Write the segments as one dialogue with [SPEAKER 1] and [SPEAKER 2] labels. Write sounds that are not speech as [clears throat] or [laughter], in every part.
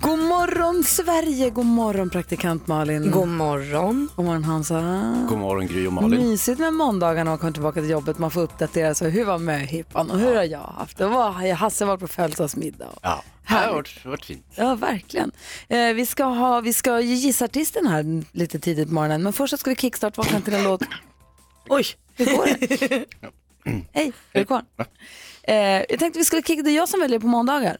[SPEAKER 1] God morgon Sverige, god morgon praktikant Malin.
[SPEAKER 2] God morgon.
[SPEAKER 1] God morgon Hansa.
[SPEAKER 3] God morgon Gry och
[SPEAKER 1] Mysigt med måndagarna och komma tillbaka till jobbet. Man får uppdatera sig. Hur var möhippan och hur har jag haft det? Och vad har jag- Hasse var på födelsedagsmiddag.
[SPEAKER 3] Ja, det har varit, varit fint.
[SPEAKER 1] Ja, verkligen. Eh, vi, ska ha, vi ska ju gissa artisten här lite tidigt på morgonen. Men först så ska vi kickstart-vakna till en låt. [clears throat] Oj, hur går det? [clears throat] Hej, är du kvar? Eh, jag tänkte vi skulle kicka, det är jag som väljer på måndagar.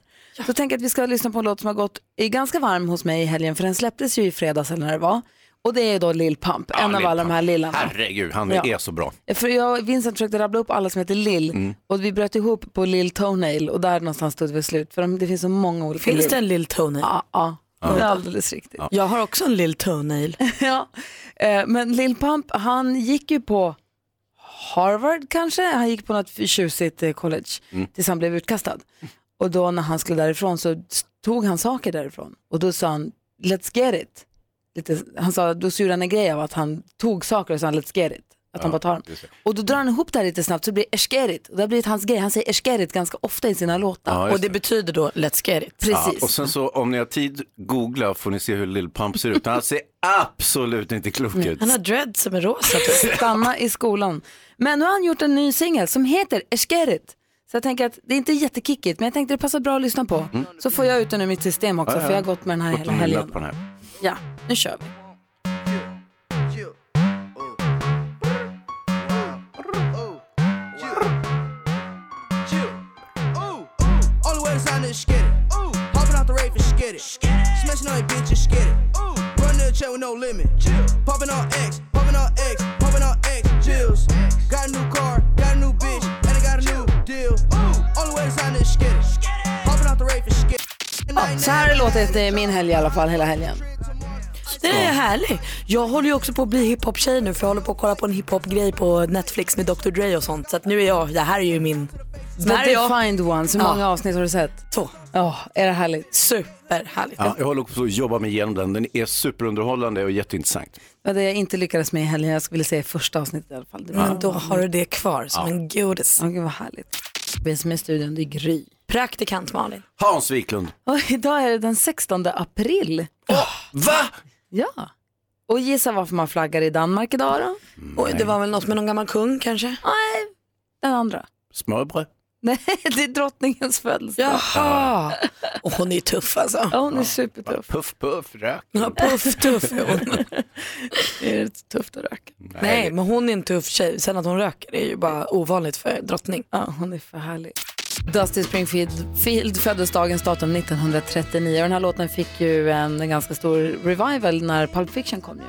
[SPEAKER 1] Så tänker jag att vi ska lyssna på en låt som har gått är ganska varm hos mig i helgen, för den släpptes ju i fredags eller när det var. Och det är då Lil Pump, en av
[SPEAKER 3] Lil
[SPEAKER 1] alla de här lillarna.
[SPEAKER 3] Herregud, han
[SPEAKER 1] Ja.
[SPEAKER 3] är så bra.
[SPEAKER 1] För jag och Vincent försökte rabbla upp alla som heter Lill och vi bröt ihop på Lill Toenail och där någonstans stod vi slut för de, det finns så många olika
[SPEAKER 2] Finns
[SPEAKER 1] Lil.
[SPEAKER 2] det en lill toenail?
[SPEAKER 1] Ja, ja. Det är alldeles riktigt. Ja.
[SPEAKER 2] Jag har också en lill toenail.
[SPEAKER 1] [laughs] Eh, Men Lil Pump, han gick ju på Harvard kanske, han gick på något tjusigt eh, college
[SPEAKER 3] Mm.
[SPEAKER 1] tills han blev utkastad. Och då när han skulle därifrån så tog han saker därifrån och då sa han let's get it. Lite, han sa, då så gjorde han en grej av att han tog saker och sa let's get it. Att han bara tar dem. Och då drar han ihop det här lite snabbt så det blir erskerit. Och det har blivit hans grej. Han säger erskerit ganska ofta i sina låtar.
[SPEAKER 3] Ja,
[SPEAKER 2] Och
[SPEAKER 3] just
[SPEAKER 2] det betyder då let's get it.
[SPEAKER 1] Precis.
[SPEAKER 3] Och sen så om ni har tid, googla får ni se hur Lil Pump ser ut. Han ser absolut inte klok ut.
[SPEAKER 2] Han har dread som är rosa. typ.
[SPEAKER 1] Stanna i skolan. Men nu har han gjort en ny singel som heter Erskerit. Så jag tänker att det är inte jättekickigt men jag tänkte det passar bra att lyssna på.
[SPEAKER 2] Mm.
[SPEAKER 1] Så får jag ut den ur mitt system också för jag har gått med den här hela
[SPEAKER 3] Bortom
[SPEAKER 1] helgen.
[SPEAKER 3] minnet på den här.
[SPEAKER 1] Ja, nu kör vi.
[SPEAKER 4] All the way to sign this skid it. Ooh. Hopping out the rave and skid it. Smashing on your bitch and skid it. Ooh. Running to the check with no limit. Chill. Popping on X, popping on X, popping on X. Chills. Got a new car, got a new bitch, and I got a new deal. Ooh. All the way to sign this skid it. Hopping out the rave and skid it.
[SPEAKER 5] Oh,
[SPEAKER 4] And I
[SPEAKER 1] Ja,
[SPEAKER 4] ain't
[SPEAKER 1] så här har det låtit eh, min helg i alla fall, hela helgen.
[SPEAKER 2] Den är härlig. Jag håller ju också på att bli hiphop-tjej nu för jag håller på att kolla på en hiphop-grej på Netflix med Dr Dre och sånt. Så att nu är jag, det här är ju min... Det här är
[SPEAKER 1] The
[SPEAKER 2] jag.
[SPEAKER 1] Defined Ones, hur
[SPEAKER 2] Ja.
[SPEAKER 1] många avsnitt har du sett?
[SPEAKER 2] Två.
[SPEAKER 1] Ja, är det härligt?
[SPEAKER 2] Superhärligt.
[SPEAKER 3] Ja, jag håller också på att jobba mig igenom den. Den är superunderhållande och jätteintressant.
[SPEAKER 1] Det var det jag inte lyckades med i helgen, jag skulle vilja säga i första avsnittet i alla fall. Det var...
[SPEAKER 2] Men då har du det kvar som en godis.
[SPEAKER 1] Åh, gud vad härligt. Vi som är i studion, det är Gry.
[SPEAKER 2] Praktikant Malin.
[SPEAKER 3] Hans Wiklund.
[SPEAKER 1] Och idag är det den 16 april.
[SPEAKER 3] Va?
[SPEAKER 1] Ja. Och gissa varför man flaggar i Danmark idag då?
[SPEAKER 2] Oj, det var väl något med någon gammal kung kanske?
[SPEAKER 1] Nej, den andra. [laughs]
[SPEAKER 3] Smörbröd.
[SPEAKER 1] Nej, det är drottningens födelsedag.
[SPEAKER 2] Jaha. Och hon är ju tuff alltså.
[SPEAKER 1] Ja, hon är supertuff.
[SPEAKER 3] Puff, puff, rök.
[SPEAKER 2] Ja, puff tuff är hon.
[SPEAKER 1] Det är tufft att röka.
[SPEAKER 2] Nej, men hon är en tuff tjej. Sen att hon röker är ju bara ovanligt för drottning.
[SPEAKER 1] Ja, hon är för härlig. Dusty Springfield Field föddes dagens datum 1939 och den här låten fick ju en ganska stor revival när Pulp Fiction kom ju.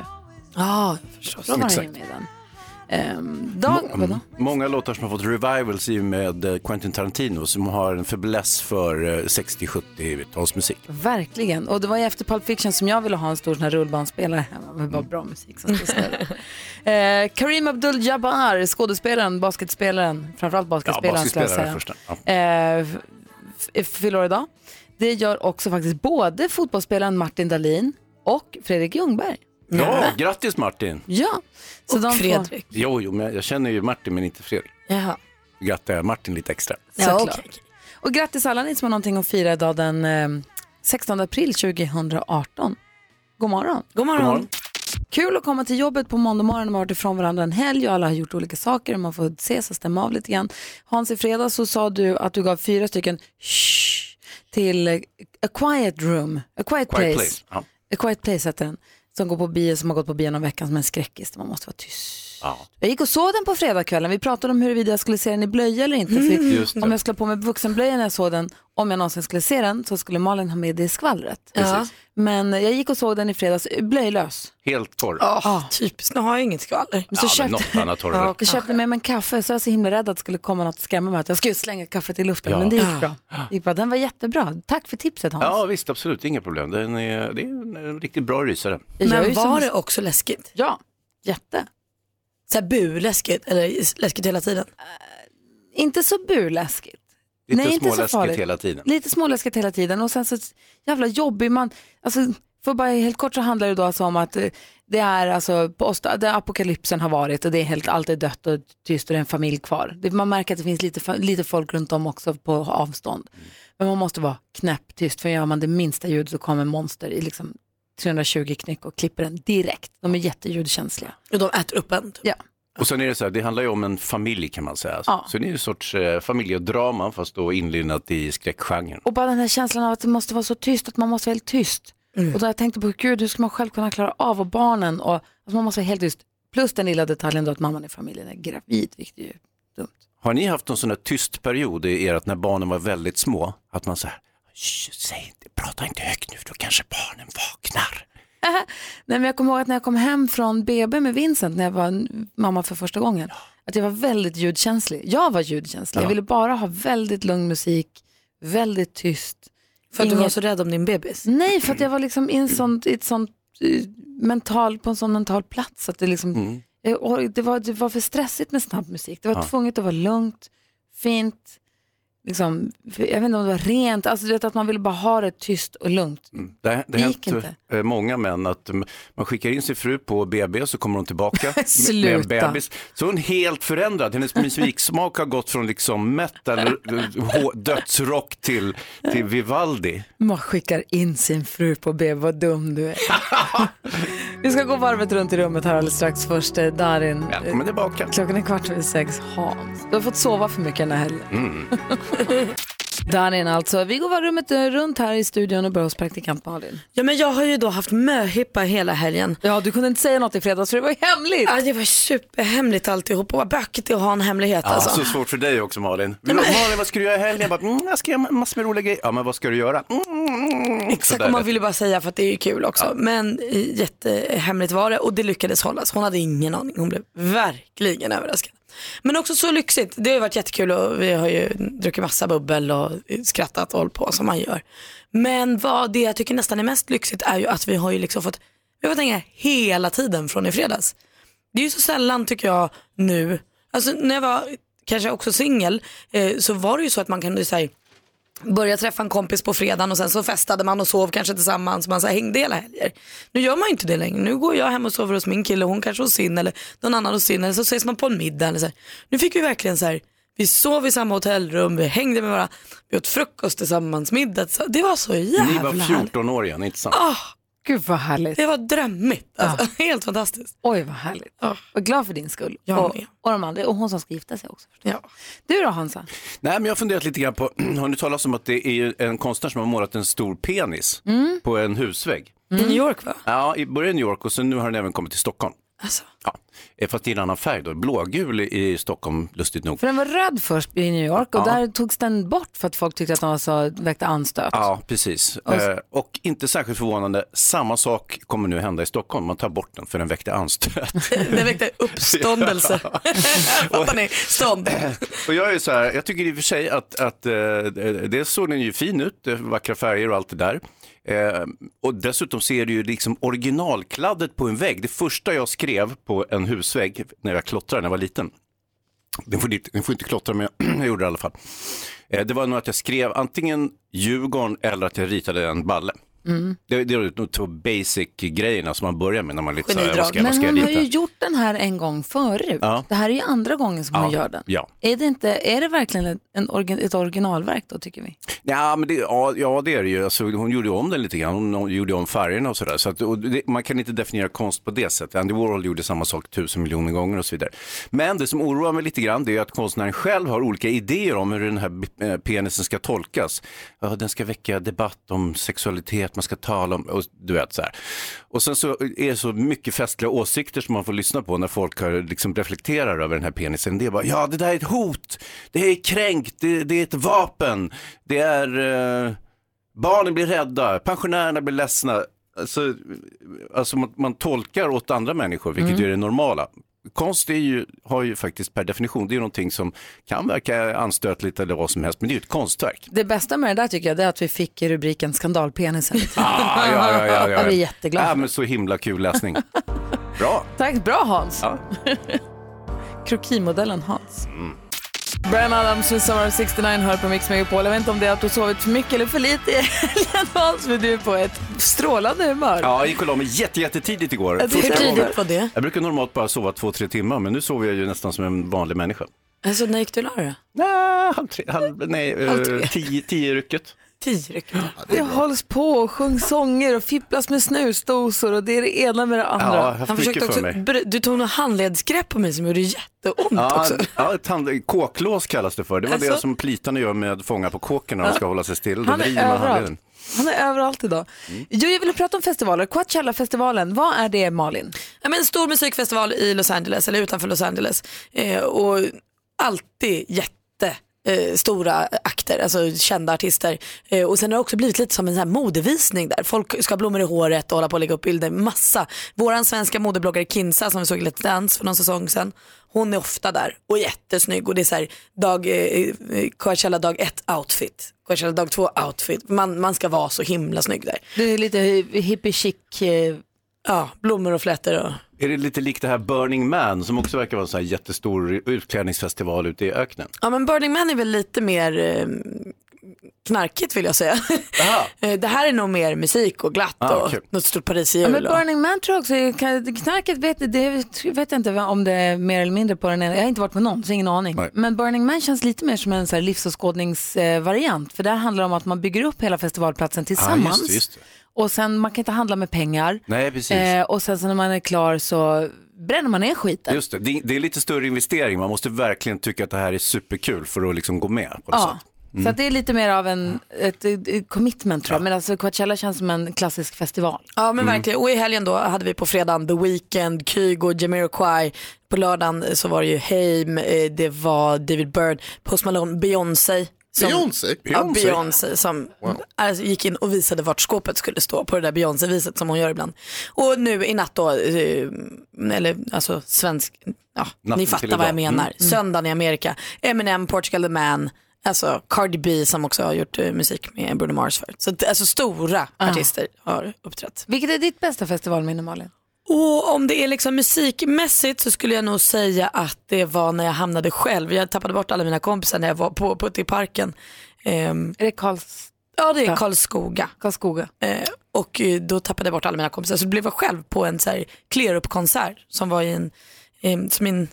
[SPEAKER 2] Ja, förstås.
[SPEAKER 1] Då var han ju
[SPEAKER 3] Exakt. Mm.
[SPEAKER 1] med i den. Ehm, dag, vadå?
[SPEAKER 3] Många låtar som har fått revivals i och med eh, Quentin Tarantino som har en fäbless för eh, 60-70-talsmusik.
[SPEAKER 1] Verkligen. Och det var ju efter Pulp Fiction som jag ville ha en stor sån här rullbandspelare [laughs] hemma med bara bra musik
[SPEAKER 2] [laughs]
[SPEAKER 1] som skulle snurra. eh, Karim Abdul-Jabbar, skådespelaren, basketspelaren, framförallt basketspelaren skulle jag säga.
[SPEAKER 3] först. Ja.
[SPEAKER 1] eh, f- f- fyller år idag. Det gör också faktiskt både fotbollsspelaren Martin Dahlin och Fredrik Ljungberg.
[SPEAKER 3] ja, grattis Martin.
[SPEAKER 1] Ja, så
[SPEAKER 2] Och
[SPEAKER 1] de får-
[SPEAKER 2] Fredrik.
[SPEAKER 3] Jo, jo, men jag känner ju Martin men inte Fredrik.
[SPEAKER 2] Jaha.
[SPEAKER 3] Grattar jag Martin lite extra.
[SPEAKER 2] Ja,
[SPEAKER 1] Såklart.
[SPEAKER 2] okej.
[SPEAKER 1] Och grattis alla ni som har någonting att fira idag den eh, 16 april 2018. God morgon.
[SPEAKER 2] God morgon.
[SPEAKER 3] God morgon.
[SPEAKER 1] Kul att komma till jobbet på måndag morgon. Man har varit ifrån varandra en helg och alla har gjort olika saker. och Man får ses och stämma av lite grann. Hans, i fredags så sa du att du gav fyra stycken shh till eh, A Quiet Room, A Quiet,
[SPEAKER 3] Quiet
[SPEAKER 1] place.
[SPEAKER 3] place. Ja.
[SPEAKER 1] A Quiet Place heter den. Som går på bio, som har gått på bio någon veckan som en skräckis. där Man måste vara tyst.
[SPEAKER 3] Ja.
[SPEAKER 1] Jag gick och såg den på fredagskvällen. Vi pratade om huruvida jag skulle se den i blöja eller inte. För
[SPEAKER 3] Mm, Just det.
[SPEAKER 1] om jag skulle ha på mig vuxenblöja när jag såg den om jag någonsin skulle se den så skulle Malin ha med det i skvallret.
[SPEAKER 2] Ja.
[SPEAKER 1] Men jag gick och såg den i fredags, blöjlös.
[SPEAKER 3] Helt torr.
[SPEAKER 2] Oh, typiskt, nu har jag inget skvaller.
[SPEAKER 1] Men
[SPEAKER 3] ja,
[SPEAKER 1] så
[SPEAKER 3] men
[SPEAKER 1] köpte,
[SPEAKER 3] något annat har du väl?
[SPEAKER 1] jag köpte
[SPEAKER 2] Ah.
[SPEAKER 1] med mig en kaffe så jag var så himla rädd att det skulle komma något och skrämma mig. Att jag skulle slänga kaffet i luften,
[SPEAKER 3] Ja.
[SPEAKER 1] men det gick bra. Det gick bra. Den var jättebra. Tack för tipset Hans.
[SPEAKER 3] Ja visst, absolut, inga problem. Den är, det är en, en riktigt bra rysare.
[SPEAKER 1] Jag gör
[SPEAKER 2] Men
[SPEAKER 1] ju som-
[SPEAKER 2] var det också läskigt?
[SPEAKER 1] Ja, jätte.
[SPEAKER 2] Så här buläskigt, eller läskigt hela tiden?
[SPEAKER 1] Inte så burläskigt.
[SPEAKER 3] Lite
[SPEAKER 1] Nej, inte så
[SPEAKER 3] småläskigt
[SPEAKER 1] farligt.
[SPEAKER 3] hela tiden.
[SPEAKER 1] Lite småläskigt hela tiden och sen så jävla jobbig man. Alltså, för bara helt kort så handlar det då alltså om att eh, det är alltså post, där apokalypsen har varit och det är helt, allt är dött och tyst och det är en familj kvar. Det, man märker att det finns lite, fa- lite folk runt om också på avstånd. Men man måste vara knäpptyst för gör man det minsta ljud så kommer monster i liksom 320 knyck och klipper en direkt. De är jätteljudkänsliga.
[SPEAKER 2] Och de äter upp en? Typ.
[SPEAKER 1] Ja.
[SPEAKER 3] Och sen är det så här, det handlar ju om en familj kan man säga.
[SPEAKER 1] Ja.
[SPEAKER 3] Så det är ju en sorts eh, familjedrama fast då inlindat i skräckgenren.
[SPEAKER 1] Och bara den här känslan av att det måste vara så tyst, att man måste vara helt tyst.
[SPEAKER 2] Mm.
[SPEAKER 1] Och då har jag tänkt på, gud hur ska man själv kunna klara av och barnen och alltså man måste vara helt tyst. Plus den lilla detaljen då att mamman i familjen är gravid, vilket är ju dumt.
[SPEAKER 3] Har ni haft någon sån här tyst period i ert när barnen var väldigt små? Att man så här, "Shh, säg inte, prata inte högt nu för då kanske barnen vaknar.
[SPEAKER 1] Nej, men jag kommer ihåg att när jag kom hem från BB med Vincent när jag var n- mamma för första gången, att jag var väldigt ljudkänslig. Jag var ljudkänslig, jag ville bara ha väldigt lugn musik, väldigt tyst.
[SPEAKER 2] För att du var
[SPEAKER 1] Inget-
[SPEAKER 2] så
[SPEAKER 1] Mm.
[SPEAKER 2] rädd om din bebis?
[SPEAKER 1] Nej, för att jag var liksom i en sån, i ett sånt, eh, mental, på en sån mental plats. Att det, liksom, Eh, och det, var, det var för stressigt med snabb musik. Det var tvunget att vara lugnt, fint, liksom, jag vet inte om det var rent. Alltså, du vet, att man ville bara ha det tyst och lugnt.
[SPEAKER 3] Det, det
[SPEAKER 1] Det
[SPEAKER 3] har
[SPEAKER 1] gick
[SPEAKER 3] hänt eh, många män att mm, man skickar in sin fru på BB så kommer
[SPEAKER 2] [laughs]
[SPEAKER 3] hon tillbaka med- med en
[SPEAKER 1] Sluta.
[SPEAKER 3] bebis. Så är hon helt förändrad. Hennes musiksmak har gått från liksom metal, eh, hå- dödsrock till, till Vivaldi.
[SPEAKER 1] Man skickar in sin fru på BB, vad dum du är. Vi ska gå varvet runt i rummet här alldeles strax. Först eh, Darin.
[SPEAKER 3] Välkommen tillbaka.
[SPEAKER 1] Klockan är kvart över sex. Hans, du har fått sova för mycket den här helgen. [laughs] Darin Mm. alltså. Vi går var rummet eh, runt här i studion och börjar hos praktikant Malin.
[SPEAKER 2] Ja men jag har ju då haft möhippa hela helgen.
[SPEAKER 1] Ja, du kunde inte säga något i fredags för det var ju hemligt.
[SPEAKER 2] Ja, det var superhemligt alltihop och vad bökigt det är att ha en hemlighet
[SPEAKER 3] Ja,
[SPEAKER 2] alltså.
[SPEAKER 3] Så svårt för dig också Malin. Malin, vad ska du göra i helgen? Jag, bara, mm, jag ska göra massor med roliga grejer. Ja, men vad ska du göra? Mm,
[SPEAKER 2] Exakt,
[SPEAKER 3] sådär
[SPEAKER 2] och man
[SPEAKER 3] lät
[SPEAKER 2] ville bara säga för att det är ju kul också. Men eh, jättehemligt var det och det lyckades hållas. Hon hade ingen aning, hon blev verkligen överraskad. Men också så lyxigt, det har ju varit jättekul och vi har ju druckit massa bubbel och skrattat och hållit på som man gör. Men vad det jag tycker nästan är mest lyxigt är ju att vi har ju liksom fått, vi har fått hänga hela tiden från i fredags. Det är ju så sällan tycker jag nu, alltså när jag var kanske också singel eh, så var det ju så att man kunde säga började träffa en kompis på fredagen och sen så festade man och sov kanske tillsammans. Man så här hängde hela helger. Nu gör man ju inte det längre. Nu går jag hem och sover hos min kille och hon kanske hos sin eller någon annan hos sin eller så ses man på en middag. Eller så här. Nu fick vi verkligen så här, vi sov i samma hotellrum, vi hängde med varandra, vi åt frukost tillsammans, middag tillsammans. Det var så jävla
[SPEAKER 3] Ni var
[SPEAKER 2] härligt.
[SPEAKER 3] 14 år igen, inte sant?
[SPEAKER 1] [laughs] Gud vad härligt.
[SPEAKER 2] Det var drömmigt. Alltså, [laughs] Helt fantastiskt.
[SPEAKER 1] Oj vad härligt.
[SPEAKER 2] Ja.
[SPEAKER 1] Jag är glad för din skull.
[SPEAKER 2] Jag
[SPEAKER 1] och,
[SPEAKER 2] med.
[SPEAKER 1] och de andra. Och hon som ska gifta sig också. förstås.
[SPEAKER 2] Ja.
[SPEAKER 1] Du då Hansa?
[SPEAKER 3] Nej, men jag har funderat lite grann på, [clears throat] har ni talat om att det är ju en konstnär som har målat en stor penis
[SPEAKER 2] Mm.
[SPEAKER 3] på en husvägg?
[SPEAKER 2] I New York va?
[SPEAKER 3] Ja, i början i New York och sen nu har den även kommit till Stockholm.
[SPEAKER 2] Alltså.
[SPEAKER 3] Ja, eh, fast i en annan färg då, blågul i i Stockholm, lustigt nog.
[SPEAKER 1] För den var röd först i New York och där togs den bort för att folk tyckte att den var så, väckte anstöt.
[SPEAKER 3] Ja, precis. Eh, och inte särskilt förvånande, samma sak kommer nu hända i Stockholm. Man tar bort den för den väckte anstöt. [laughs]
[SPEAKER 2] Det väckte uppståndelse. Fattar ni? Stånd.
[SPEAKER 3] Och jag är så här, jag tycker i och för sig att, att eh, dels såg den ju fin ut, eh, vackra färger och allt det där. Eh, och dessutom ser du ju liksom originalkladdet på en vägg. Det första jag skrev på en husvägg när jag klottrade när jag var liten. Den får, inte- den får inte klottra men [clears throat] jag, jag gjorde det i alla fall. Eh, det var nog att jag skrev antingen Djurgården eller att jag ritade en balle.
[SPEAKER 1] Mm.
[SPEAKER 3] Det, det var nog två basic grejerna som man börjar med när man lite så här, vad ska
[SPEAKER 2] Genidrag.
[SPEAKER 3] jag, vad
[SPEAKER 1] Men
[SPEAKER 3] ska jag
[SPEAKER 1] hon har ju
[SPEAKER 3] rita?
[SPEAKER 1] gjort den här en gång förut.
[SPEAKER 3] Ja.
[SPEAKER 1] Det här är ju andra gången som hon
[SPEAKER 3] Ja,
[SPEAKER 1] gör den.
[SPEAKER 3] ja.
[SPEAKER 1] Är, det inte, är det verkligen en- en orgi- ett originalverk då tycker vi?
[SPEAKER 3] Ja, men det, ja, ja, det är det ju. Alltså, hon gjorde ju om den lite grann. Hon, hon gjorde om färgerna och sådär. Så att, och det, man kan inte definiera konst på det sättet. Andy Warhol gjorde samma sak tusen miljoner gånger och så vidare. Men det som oroar mig lite grann det är att konstnären själv har olika idéer om hur den här eh, penisen ska tolkas. Ja, den ska väcka debatt om sexualitet man ska tala om, och, du vet så här. Och sen så är det så mycket festliga åsikter som man får lyssna på när folk har, liksom reflekterar över den här penisen. Det är bara, ja det där är ett hot, det är kränkt, det, det är ett vapen, det är eh, Barnen blir rädda, pensionärerna blir ledsna. Alltså, alltså man, man tolkar åt andra människor, vilket ju är det normala. Konst är ju, har ju faktiskt per definition, det är ju någonting som kan verka anstötligt eller vad som helst, men det är ju ett konstverk.
[SPEAKER 1] Det bästa med det där tycker jag det är att vi fick
[SPEAKER 3] [laughs]
[SPEAKER 1] rubriken skandalpenisen.
[SPEAKER 3] Ah, ja, ja, ja,
[SPEAKER 1] Jag blir jätteglad.
[SPEAKER 3] Ja, men så himla kul läsning. Bra.
[SPEAKER 1] Tack, bra Hans.
[SPEAKER 3] Ja.
[SPEAKER 1] [laughs]
[SPEAKER 3] Mm.
[SPEAKER 1] Krokimodellen Hans. Brian Adams med Summer of 69 hör på Mix Megapol. Jag vet inte om det är att du sovit för mycket eller för lite i helgen Hans, men du är på ett strålande humör.
[SPEAKER 3] Ja, jag gick och la mig jätte, jättetidigt igår.
[SPEAKER 1] Ja, det är
[SPEAKER 3] Första
[SPEAKER 2] Hur
[SPEAKER 1] Förstår
[SPEAKER 3] gången.
[SPEAKER 2] tidigt var det?
[SPEAKER 3] Jag brukar normalt bara sova två, tre timmar, men nu sover jag ju nästan som en vanlig människa.
[SPEAKER 2] Alltså när gick du och la dig då?
[SPEAKER 3] Nej, halv tre, halv, nej, eh, tio, tio i rycket.
[SPEAKER 2] Tio ryckte.
[SPEAKER 1] Det hålls på och sjungs sånger och fipplas med snusdosor och det är det ena med det
[SPEAKER 3] Ja, jag
[SPEAKER 1] andra.
[SPEAKER 3] har haft
[SPEAKER 2] Han
[SPEAKER 3] mycket
[SPEAKER 2] försökte
[SPEAKER 3] för
[SPEAKER 2] också, [laughs]
[SPEAKER 3] mig.
[SPEAKER 2] bry- du tog något handledsgrepp på mig som gjorde jätteont
[SPEAKER 3] Ja,
[SPEAKER 2] också.
[SPEAKER 3] ja ett hand, kåklås kallas det för. Det var
[SPEAKER 2] Alltså?
[SPEAKER 3] det som plitarna gör med fångar på kåken när de ska hålla sig still. Då
[SPEAKER 1] Han är
[SPEAKER 3] vrider man handleden. Mm.
[SPEAKER 1] överallt. Han är överallt idag. Jo, jag ville prata om festivaler. Coachella-festivalen, vad är det Malin?
[SPEAKER 2] Ja, men en stor musikfestival i Los Angeles, eller utanför Los Angeles. Eh, och alltid jätte eh, stora akter, alltså kända artister. Eh, och sen har det också blivit lite som en sån här modevisning där. Folk ska ha blommor i håret och hålla på och lägga upp bilder, massa. Våran svenska modebloggare Kinsa som vi såg i Let's Dance för någon säsong sedan, hon är ofta där och jättesnygg och det är så här dag, eh, Coachella dag ett outfit, Coachella dag två outfit. Man, man ska vara så himla snygg där.
[SPEAKER 1] Det är lite hippie chic. eh,
[SPEAKER 2] Ja, blommor och flätor och
[SPEAKER 3] Är det lite likt det här Burning Man som också verkar vara en sån här jättestor utklädningsfestival ute i öknen?
[SPEAKER 2] Ja men Burning Man är väl lite mer eh, knarkigt vill jag säga. [laughs] Eh, det här är nog mer musik och glatt
[SPEAKER 3] Ah,
[SPEAKER 2] och
[SPEAKER 3] kul.
[SPEAKER 2] något stort Paris i
[SPEAKER 1] Ja,
[SPEAKER 2] jul.
[SPEAKER 1] men
[SPEAKER 2] och-
[SPEAKER 1] Burning Man tror jag också, är- kan- knarket vet, det vet jag inte om det är mer eller mindre på den ena. Jag har inte varit på någon så ingen aning.
[SPEAKER 3] Nej.
[SPEAKER 1] Men Burning Man känns lite mer som en så här livsåskådningsvariant. För där handlar det om att man bygger upp hela festivalplatsen tillsammans.
[SPEAKER 3] Ja, just det, just det.
[SPEAKER 1] Och sen man kan inte handla med pengar.
[SPEAKER 3] Nej, precis.
[SPEAKER 1] Eh, och sen så när man är klar så bränner man ner skiten.
[SPEAKER 3] Just det. det, det är lite större investering. Man måste verkligen tycka att det här är superkul för att liksom gå med på något
[SPEAKER 1] ja.
[SPEAKER 3] sätt.
[SPEAKER 1] Så Mm. att det är lite mer av en, ett, ett commitment tror jag. Men alltså Coachella känns som en klassisk festival.
[SPEAKER 2] Ja men verkligen. Och i helgen då hade vi på fredagen The Weeknd, Kygo, Jamiroquai. På lördagen så var det ju Haim, eh, det var David Byrne, Post Malone, Beyoncé. som-
[SPEAKER 6] Beyoncé?
[SPEAKER 2] Ja, Beyoncé som alltså, gick in och visade vart skåpet skulle stå på det där Beyoncé-viset som hon gör ibland. Och nu i natt då, eh, eller alltså svensk, ja,
[SPEAKER 3] Natten
[SPEAKER 2] ni
[SPEAKER 3] till
[SPEAKER 2] fattar
[SPEAKER 3] idag.
[SPEAKER 2] vad jag menar. Söndagen i Amerika, Eminem, Portugal the Man, alltså Cardi B som också har gjort eh, musik med Bruno Mars förut. Så att, alltså stora artister har uppträtt.
[SPEAKER 1] Vilket är ditt bästa festivalminne Malin?
[SPEAKER 2] Och om det är liksom musikmässigt så skulle jag nog säga att det var när jag hamnade själv. Jag tappade bort alla mina kompisar när jag var på, på, ute i parken. Ehm,
[SPEAKER 1] Är det Karls,
[SPEAKER 2] ja, det är Karlskoga.
[SPEAKER 1] Karlskoga?
[SPEAKER 2] Eh, och eh, då tappade jag bort alla mina kompisar. Så blev jag själv på en så här clear up-konsert som var i en, ehm, som i en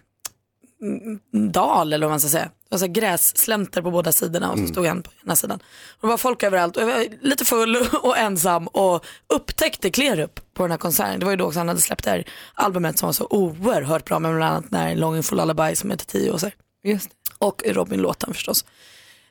[SPEAKER 2] mm, dal eller vad man ska säga. Det var så här grässlänter på båda sidorna och så
[SPEAKER 1] Mm.
[SPEAKER 2] stod han på ena sidan. Och det var folk överallt och jag var lite full [laughs] och ensam och upptäckte clear up på den här konserten. Det var ju då också han hade släppt det här albumet som var så oerhört bra med bland annat den här Longing for Lullaby som heter 10 och så här.
[SPEAKER 1] Just det.
[SPEAKER 2] Och Robin-låten förstås.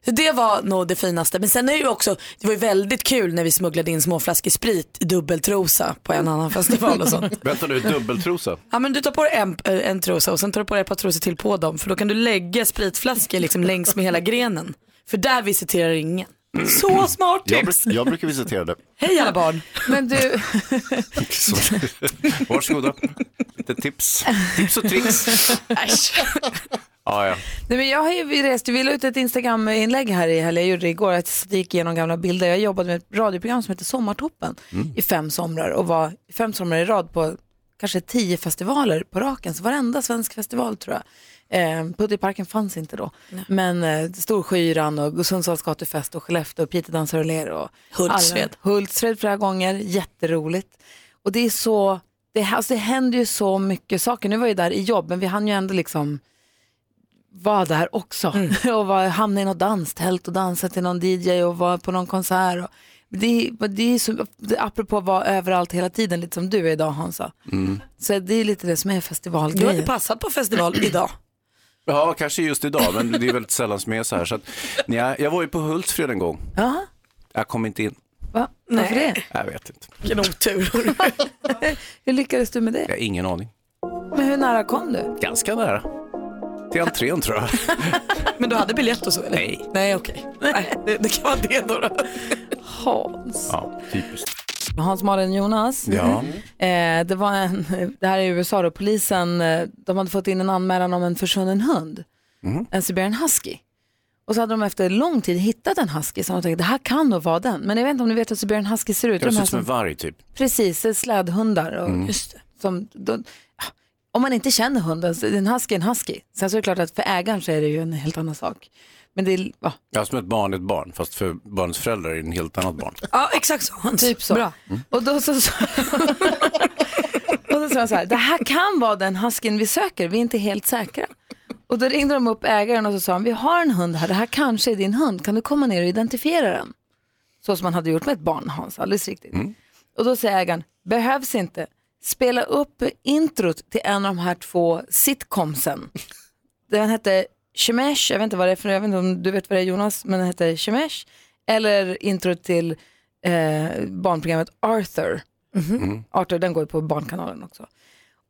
[SPEAKER 2] Så det var nog det finaste. Men sen är det ju också, det var ju väldigt kul när vi smugglade in småflaskor sprit i dubbeltrosa på en annan festival och sånt.
[SPEAKER 3] Vänta nu, dubbeltrosa.
[SPEAKER 2] [laughs] Ja men du tar på dig en, eh, en trosa och sen tar du på dig ett par trosor till på dem för då kan du lägga spritflaskor liksom längs med hela grenen. För där visiterar ingen. Så smart
[SPEAKER 3] Jag,
[SPEAKER 2] tips!
[SPEAKER 3] bru- jag brukar visitera det.
[SPEAKER 2] Hej alla barn!
[SPEAKER 1] Men du,
[SPEAKER 3] Så. [laughs] Varsågoda. Lite tips. Tips och tricks.
[SPEAKER 2] Äsch.
[SPEAKER 3] Ja, ja.
[SPEAKER 1] Nej, men jag har ju rest, vi la ut ett Instagram-inlägg här i helgen, jag gjorde det igår, att jag gick igenom gamla bilder. Jag jobbade med ett radioprogram som heter Sommartoppen i fem somrar och var i fem somrar i rad på kanske tio festivaler på raken, så varenda svensk festival tror jag. Eh, Putte i parken fanns inte då, men eh, Storskyran och Sundsvalls gatufest och Skellefteå och Piteå dansar och ler och
[SPEAKER 2] Hultsfred.
[SPEAKER 1] alla- Hultsfred flera gånger, jätteroligt. Och det är så, det, alltså, det händer ju så mycket saker. Nu var jag ju där i jobb, men vi hann ju ändå liksom var där också [laughs] och var, hamnade i något danstält och dansade till någon DJ och var på någon konsert. Och det, är- det är så, det, apropå att vara överallt hela tiden, lite som du är idag Hansa. Så det är lite det som är
[SPEAKER 2] Du har inte
[SPEAKER 1] festivalgrejen.
[SPEAKER 2] passat på festival idag.
[SPEAKER 3] Ja, kanske just idag, men det är väldigt sällan som jag är så här. Så att, nja, jag var ju på Hultsfred en gång.
[SPEAKER 1] Ja,
[SPEAKER 3] Jag kom inte in.
[SPEAKER 1] Va? Varför
[SPEAKER 2] Nej.
[SPEAKER 1] det?
[SPEAKER 3] Jag vet inte.
[SPEAKER 2] Vilken otur.
[SPEAKER 1] Hur lyckades du med det?
[SPEAKER 3] Jag har ingen aning.
[SPEAKER 1] Men hur nära kom du?
[SPEAKER 3] Ganska nära. Till entrén tror jag.
[SPEAKER 2] Men du hade biljett och så eller?
[SPEAKER 3] Nej.
[SPEAKER 2] Nej okej. Nej, det, det kan vara det då. då.
[SPEAKER 1] Hans.
[SPEAKER 3] Ja, typiskt.
[SPEAKER 1] Hans, Malin, Jonas.
[SPEAKER 3] Ja.
[SPEAKER 1] Eh, det, var en, [laughs] det här är i USA då, polisen eh, de hade fått in en anmälan om en försvunnen hund,
[SPEAKER 3] Mhm.
[SPEAKER 1] en siberian husky. Och så hade de efter lång tid hittat en husky som de tänkte det här kan nog vara den. Men jag vet inte om ni vet hur siberian husky ser ut.
[SPEAKER 3] Jag
[SPEAKER 1] De
[SPEAKER 3] ser
[SPEAKER 1] här
[SPEAKER 3] ut som en Mm. varg typ.
[SPEAKER 1] Precis, det är slädhundar. Och, som, de, ja, om man inte känner hunden, så är en husky är en husky. Sen så är det klart att för ägaren så är det ju en helt annan sak. Men det är, ja,
[SPEAKER 3] Ja, som ett barn är ett barn, fast för barnets föräldrar är det en helt annat barn.
[SPEAKER 2] Ja exakt så Hans.
[SPEAKER 1] Typ så.
[SPEAKER 2] Bra.
[SPEAKER 1] Och då så, så [laughs] Och då sa jag så här, det här kan vara den husken vi söker, vi är inte helt säkra. Och då ringde de upp ägaren och så sa han, vi har en hund här, det här kanske är din hund, kan du komma ner och identifiera den? Så som man hade gjort med ett barn, Hans, alldeles riktigt. Och då säger ägaren, behövs inte, spela upp introt till en av de här två sitcomsen. Den hette Shemesh, jag vet inte vad det är för, jag vet inte om du vet vad det är Jonas, men den hette Shemesh. Eller introt till eh, barnprogrammet Arthur. Mhm. Arthur, den går ju på Barnkanalen också.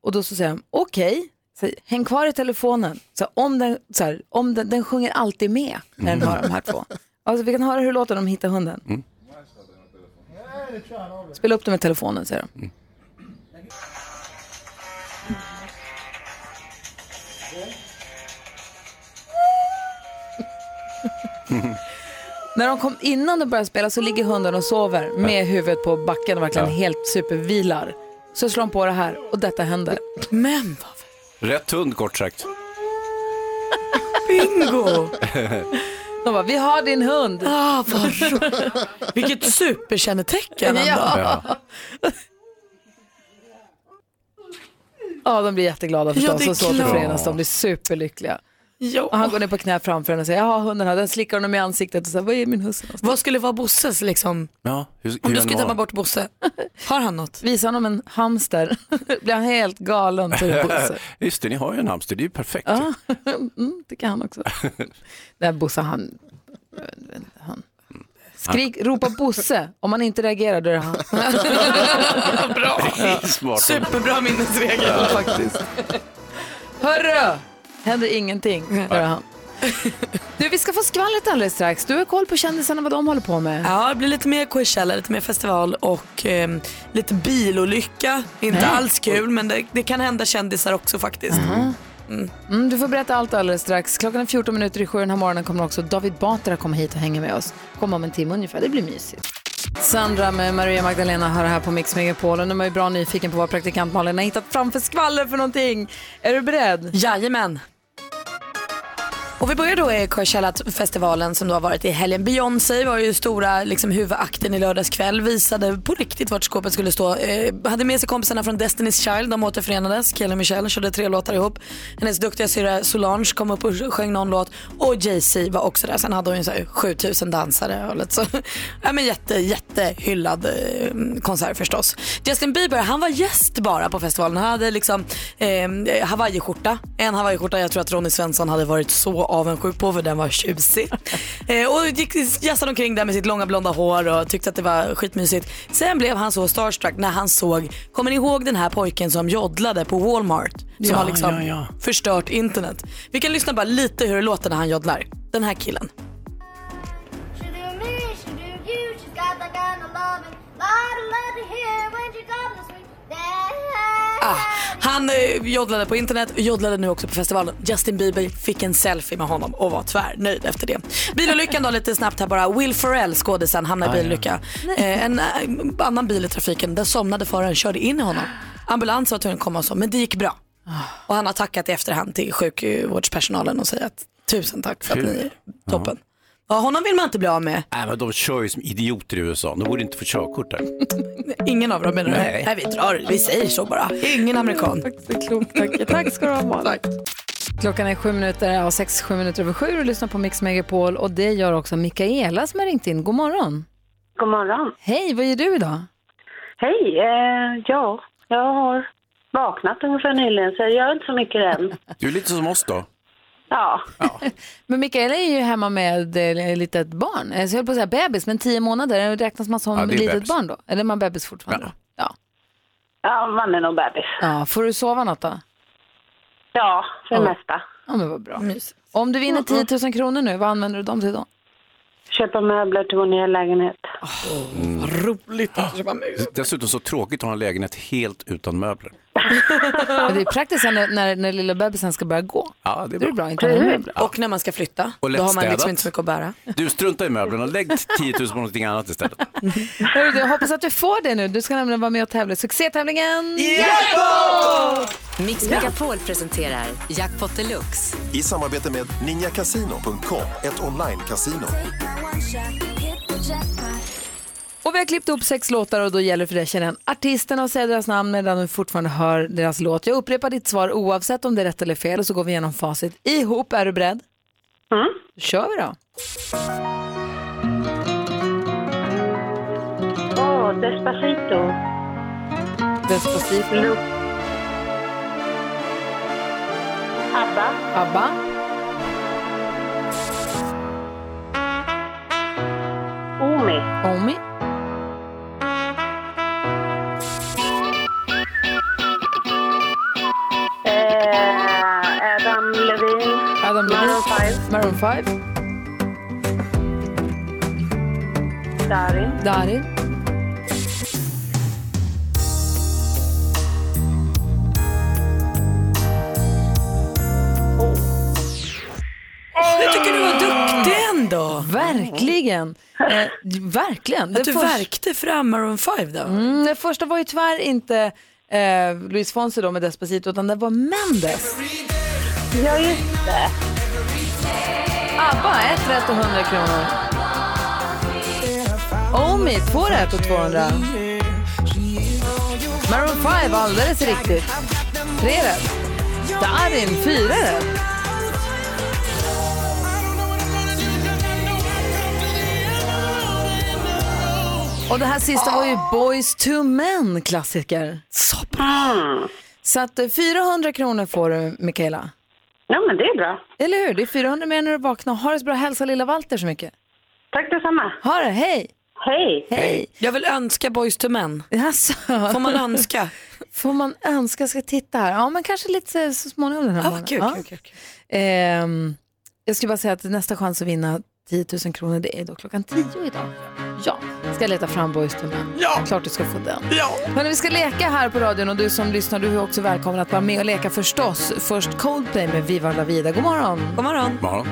[SPEAKER 1] Och då så säger han, okej, Så här, häng kvar i telefonen. Så här, om den, så här, om den, den sjunger alltid med när den hör de här två. Alltså, vi kan höra hur låter de hittar hunden. Spela upp den med telefonen, säger de. När de kom innan de började spela så ligger hunden och sover med huvudet på backen och verkligen helt supervilar. Så slår de på det här och detta händer.
[SPEAKER 2] Men vad
[SPEAKER 3] Rätt hund
[SPEAKER 2] [laughs]
[SPEAKER 3] kort sagt.
[SPEAKER 2] bingo.
[SPEAKER 1] De bara, vi har din hund.
[SPEAKER 2] Ah, vad ro- Vilket superkännetecken ändå.
[SPEAKER 3] Ja.
[SPEAKER 1] Ja, de blir jätteglada förstås
[SPEAKER 2] Ja, det är
[SPEAKER 1] och så till
[SPEAKER 2] klart.
[SPEAKER 1] fredags. De blir superlyckliga. Och han
[SPEAKER 2] Ja.
[SPEAKER 1] går ner på knä framför henne och säger, jag har hunden här. Den slickar honom i ansiktet och säger, vad är min husse någonstans?
[SPEAKER 2] Vad skulle vara Bosses liksom?
[SPEAKER 3] Ja, hur,
[SPEAKER 2] Om
[SPEAKER 3] hur
[SPEAKER 2] du
[SPEAKER 3] han
[SPEAKER 2] skulle
[SPEAKER 3] var.
[SPEAKER 2] tappa bort Bosse, har han något?
[SPEAKER 1] Visar honom en hamster, [laughs] blir han helt galen. Till
[SPEAKER 2] [laughs]
[SPEAKER 1] Bosse.
[SPEAKER 3] [laughs] Just det, ni har ju en hamster, det är ju perfekt.
[SPEAKER 1] Ja, mm, tycker han också. Nej, Bosse han... han. Skrik, ropa Bosse. Om man inte reagerar då är det han.
[SPEAKER 3] Det är [laughs]
[SPEAKER 2] [laughs]
[SPEAKER 3] Smart.
[SPEAKER 2] Superbra minnesregel.
[SPEAKER 1] faktiskt. Hörru! Händer ingenting, då är det han. Du, vi ska få skvallret alldeles strax. Du har koll på kändisarna, vad de håller på med.
[SPEAKER 2] Ja, det blir lite mer Coachella, lite mer festival och ehm, lite bilolycka. Inte alls kul men det, det kan hända kändisar också faktiskt.
[SPEAKER 1] Mm, du får berätta allt alldeles strax. Klockan är 14 minuter i sju den här morgonen kommer också David Batra komma hit och hänga med oss. Kommer om en timme ungefär, det blir mysigt. Sandra med Maria Magdalena hör här på Mix Megapol och nu är man ju bra nyfiken på vad praktikant Malin har hittat framför skvaller för någonting. Är du beredd?
[SPEAKER 2] Jajamän. Och vi börjar då i Coachella-festivalen som då har varit i helgen. Beyoncé var ju stora liksom, huvudakten i lördags kväll. Visade på riktigt vart skåpet skulle stå. Eh, hade med sig kompisarna från Destiny's Child. De återförenades. Kaeli och Michelle körde tre låtar ihop. Hennes duktiga syrra Solange kom upp och sjöng någon låt. Och Jay-Z var också där. Sen hade hon ju så här 7000 dansare. Och lite så. [laughs] ja, men jätte, jättehyllad eh, konsert förstås. Justin Bieber han var gäst bara på festivalen. Han hade liksom eh, hawaiiskjorta. En hawaiiskjorta jag tror att Ronny Svensson hade varit så avundsjuk på för den var tjusig. eh, och gick jassade omkring där med sitt långa blonda hår och tyckte att det var skitmysigt. Sen blev han så starstruck när han såg, kommer ni ihåg den här pojken som joddlade på Walmart? Som har liksom förstört internet. Vi kan lyssna bara lite hur det låter när han joddlar. Den här killen.
[SPEAKER 6] She do me, she do you, she's got that kind of loving. Lot of love to hear when she comes to sweet daddy.
[SPEAKER 2] Ah, han eh, joddlade på internet, joddlade nu också på festivalen. Justin Bieber fick en selfie med honom och var tvärnöjd efter det. Bilolyckan då lite snabbt här bara. Will Ferrell, skådisen, hamnade i bilolycka. Eh, en eh, annan bil i trafiken, den somnade föraren, körde in i honom. Ambulans var tvungen att komma och så, men det gick bra. Och han har tackat i efterhand till sjukvårdspersonalen och säger att tusen tack för att ni är toppen. Ja, honom vill man inte bli av med.
[SPEAKER 3] Nej, men de kör ju som idioter i USA, de borde inte få körkort där.
[SPEAKER 2] Ingen av dem menar du?
[SPEAKER 3] Nej.
[SPEAKER 2] Nej, vi drar Vi säger så bara. Ingen amerikan.
[SPEAKER 1] Tack ska du ha Malin. Klockan är sju minuter, ja, sex, sju minuter över sju och lyssnar på Mix Megapol och det gör också Mikaela som har ringt in. God morgon.
[SPEAKER 7] God morgon.
[SPEAKER 1] Hej, vad gör du idag?
[SPEAKER 7] Hej. Eh, ja, jag har vaknat ungefär nyligen så jag gör inte så mycket än.
[SPEAKER 3] Du är lite som oss då.
[SPEAKER 7] Ja,
[SPEAKER 1] Men Mikaela är ju hemma med eh, litet barn. Eh, Så jag höll på att säga bebis, men tio månader räknas man som
[SPEAKER 3] Ja, det är
[SPEAKER 1] litet
[SPEAKER 3] bebis.
[SPEAKER 1] barn då? Eller är man bebis fortfarande? Ja.
[SPEAKER 7] ja man är nog bebis.
[SPEAKER 1] ja. Får du sova något då?
[SPEAKER 7] Ja, för det
[SPEAKER 1] Ja.
[SPEAKER 7] mesta.
[SPEAKER 1] Ja, men vad bra. Om du vinner 10 000 kronor nu, vad använder du dem till då?
[SPEAKER 7] Köpa möbler till vår nya lägenhet.
[SPEAKER 2] Vad roligt att köpa mus.
[SPEAKER 3] Dessutom så tråkigt att ha en lägenhet helt utan möbler.
[SPEAKER 1] Men det är praktiskt sen när, när, när lilla bebisen ska börja gå.
[SPEAKER 3] Ja, det
[SPEAKER 1] Då är
[SPEAKER 3] är
[SPEAKER 1] det
[SPEAKER 3] bra.
[SPEAKER 1] bra, inte när den är bra.
[SPEAKER 2] Och när man ska flytta,
[SPEAKER 3] Och
[SPEAKER 2] då har man
[SPEAKER 3] lättstädat.
[SPEAKER 2] liksom inte så mycket att bära.
[SPEAKER 3] Du struntar i möblerna, lägg 10 000 på någonting
[SPEAKER 2] [laughs]
[SPEAKER 3] annat istället.
[SPEAKER 1] Hörru du, Jag hoppas att du får det nu. Du ska nämligen vara med och tävla i succétävlingen.
[SPEAKER 8] Mix Megapol presenterar Jackpot Deluxe.
[SPEAKER 9] I samarbete med ninjakasino.com, ett online-casino.
[SPEAKER 1] Och vi har klippt ihop sex låtar och då gäller för dig att känna igen artisterna och säga deras namn medan du fortfarande hör deras låt. Jag upprepar ditt svar oavsett om det är rätt eller fel och så går vi igenom facit ihop. Är du beredd? Mm. Då kör vi då.
[SPEAKER 7] Åh, Despacito.
[SPEAKER 1] Despacito,
[SPEAKER 7] Lu- Abba.
[SPEAKER 1] ABBA,
[SPEAKER 7] Omi.
[SPEAKER 1] Omi,
[SPEAKER 7] Eh, Adam Levine.
[SPEAKER 1] Adam Levine,
[SPEAKER 7] Maroon five.
[SPEAKER 1] Maroon 5,
[SPEAKER 7] Darin.
[SPEAKER 1] Darin,
[SPEAKER 2] Jag tycker du var duktig ändå.
[SPEAKER 1] verkligen.
[SPEAKER 7] Mm.
[SPEAKER 1] Eh,
[SPEAKER 7] [laughs]
[SPEAKER 1] verkligen.
[SPEAKER 2] Att
[SPEAKER 1] Det
[SPEAKER 2] du
[SPEAKER 1] första-
[SPEAKER 2] värkte fram Maroon 5 då.
[SPEAKER 1] Mm, det första var ju tyvärr inte eh, Luis Fonsi då med Despacito utan det var Mendes.
[SPEAKER 7] Ja, just det.
[SPEAKER 1] ABBA, ett rätt och 100 kronor. Omi, två rätt och 200. Maroon 5, alldeles riktigt. Tre rätt. Darin, fyra rätt. Och det här sista var ju Boys to Men klassiker. Så bra! Så att eh, 400 kronor får du, Mikaela.
[SPEAKER 7] Ja, men det är bra.
[SPEAKER 1] Eller hur? Det är 400 mer när du vaknar. Ha det så bra. Hälsa lilla Walter så mycket.
[SPEAKER 7] Tack detsamma.
[SPEAKER 1] Ha det. Hej!
[SPEAKER 7] Hej.
[SPEAKER 1] Hej!
[SPEAKER 2] Jag vill önska Boys to Men.
[SPEAKER 1] Alltså,
[SPEAKER 2] Får man önska?
[SPEAKER 1] får man önska? Ska jag titta här? Ja, men kanske lite så- så småningom den här
[SPEAKER 2] Ja, vad
[SPEAKER 1] morgonen.
[SPEAKER 2] kul,
[SPEAKER 1] Ja.
[SPEAKER 2] kul, kul, kul.
[SPEAKER 1] Ehm, jag skulle bara säga att nästa chans att vinna 10 000 kronor det är då klockan 10 idag. Ja, ska jag leta fram Boys to Men. Ja. Klart du ska få den. Ja. Hörrni, vi ska leka här på radion och du som lyssnar du är också välkommen att vara med och leka förstås. Först Coldplay med Viva La Vida. God morgon!
[SPEAKER 2] God morgon.
[SPEAKER 3] Morgon.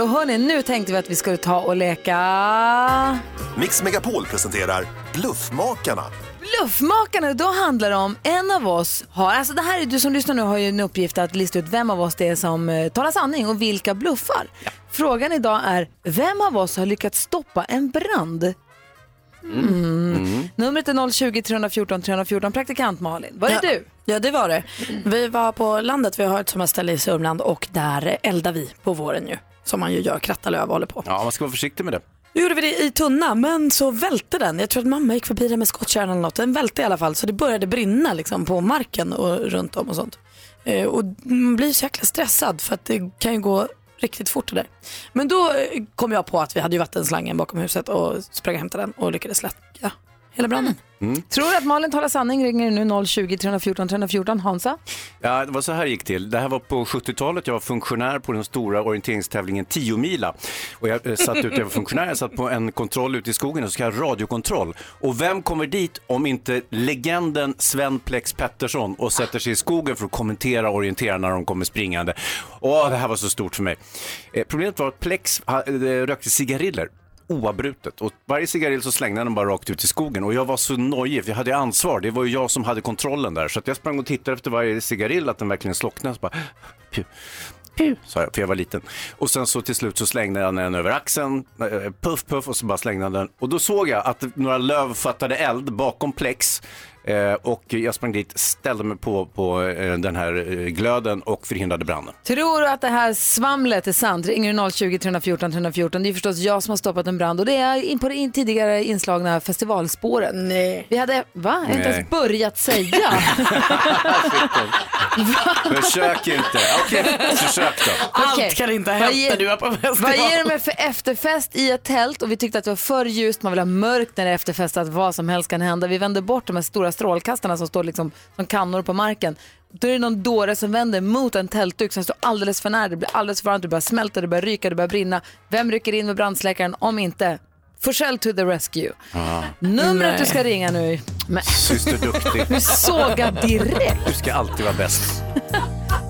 [SPEAKER 1] Och hörni, nu tänkte vi att vi skulle ta och leka...
[SPEAKER 9] Mix Megapol presenterar Bluffmakarna.
[SPEAKER 1] Bluffmakarna, då handlar det om en av oss har, alltså det här är du som lyssnar nu har ju en uppgift att lista ut vem av oss det är som eh, talar sanning och vilka bluffar. Frågan idag är, vem av oss har lyckats stoppa en brand? Mm. Numret är 020 314 314, praktikant Malin. Var är
[SPEAKER 2] Ja.
[SPEAKER 1] du?
[SPEAKER 2] Ja, det var det. Vi var på landet, vi har ett sommarställe i Sörmland och där eldar vi på våren ju. Som man ju gör, krattar löv och håller på.
[SPEAKER 3] Ja, man ska vara försiktig med det.
[SPEAKER 2] Nu gjorde vi det i tunna, men så välte den. Jag tror att mamma gick förbi den med skottkärran eller något. Den välte i alla fall, så det började brinna liksom på marken och runt om och sånt. Eh, och man blir så jäkla stressad för att det kan ju gå riktigt fort det där. Men då eh, kom jag på att vi hade ju vattenslangen bakom huset och sprang och hämtade den och lyckades släcka hela branden.
[SPEAKER 1] Tror du att Malin talar sanning ringer du nu 020 314 314, Hansa?
[SPEAKER 3] Ja, det var så här gick till. Det här var på 70-talet. Jag var funktionär på den stora orienteringstävlingen 10 mila. Och jag eh, satt ute, jag var funktionär, jag satt på en kontroll ute i skogen, en så kallad radiokontroll. Och vem kommer dit om inte legenden Sven Plex Pettersson och sätter sig i skogen för att kommentera och orientera när de kommer springande. Åh, det här var så stort för mig. Eh, problemet var att Plex ha- eh, rökte cigariller oavbrutet. Och varje cigarill så slängde han den bara rakt ut i skogen. Och jag var så nojig, för jag hade ansvar. Det var ju jag som hade kontrollen där. Så att jag sprang och tittade efter varje cigarill, att den verkligen slocknade. Så bara, puh, puh, sa jag, för jag var liten. Och sen så till slut så slängde han den över axeln, eh, puff, puff, och så bara slängde han den. Och då såg jag att några löv fattade eld bakom plex. Eh, och jag sprang dit, ställde mig på, på eh, den här eh, glöden och förhindrade branden.
[SPEAKER 1] Tror du att det här svamlet är sant? Ringer du 020 314 314? Det är förstås jag som har stoppat en brand och det är in på det in tidigare inslagna festivalspåret.
[SPEAKER 2] Nej.
[SPEAKER 1] Vi hade, va? Jag har inte
[SPEAKER 3] Nej.
[SPEAKER 1] ens börjat säga.
[SPEAKER 3] Försök inte. Okej, försök då.
[SPEAKER 1] Okej.
[SPEAKER 2] Allt kan inte ha
[SPEAKER 1] Vad
[SPEAKER 2] hänt
[SPEAKER 1] ger-
[SPEAKER 2] när du är på festival.
[SPEAKER 1] Vad ger de mig för efterfest i ett tält? Och vi tyckte att det var för ljust, man vill ha mörkt när det är efterfest, att vad som helst kan hända. Vi vände bort de här stora strålkastarna som står liksom som kannor på marken. Då är det någon dåre som vänder mot en tältduk som står alldeles för nära, det blir alldeles för varmt, det börjar smälta, det börjar ryka, det börjar brinna. Vem rycker in med brandsläckaren om inte Forsell to the rescue?
[SPEAKER 3] Ah.
[SPEAKER 1] Numret
[SPEAKER 3] Nej.
[SPEAKER 1] du ska ringa nu. Men,
[SPEAKER 3] Syster duktig.
[SPEAKER 1] Du sågar
[SPEAKER 3] [laughs]
[SPEAKER 1] direkt.
[SPEAKER 3] Du ska alltid vara bäst.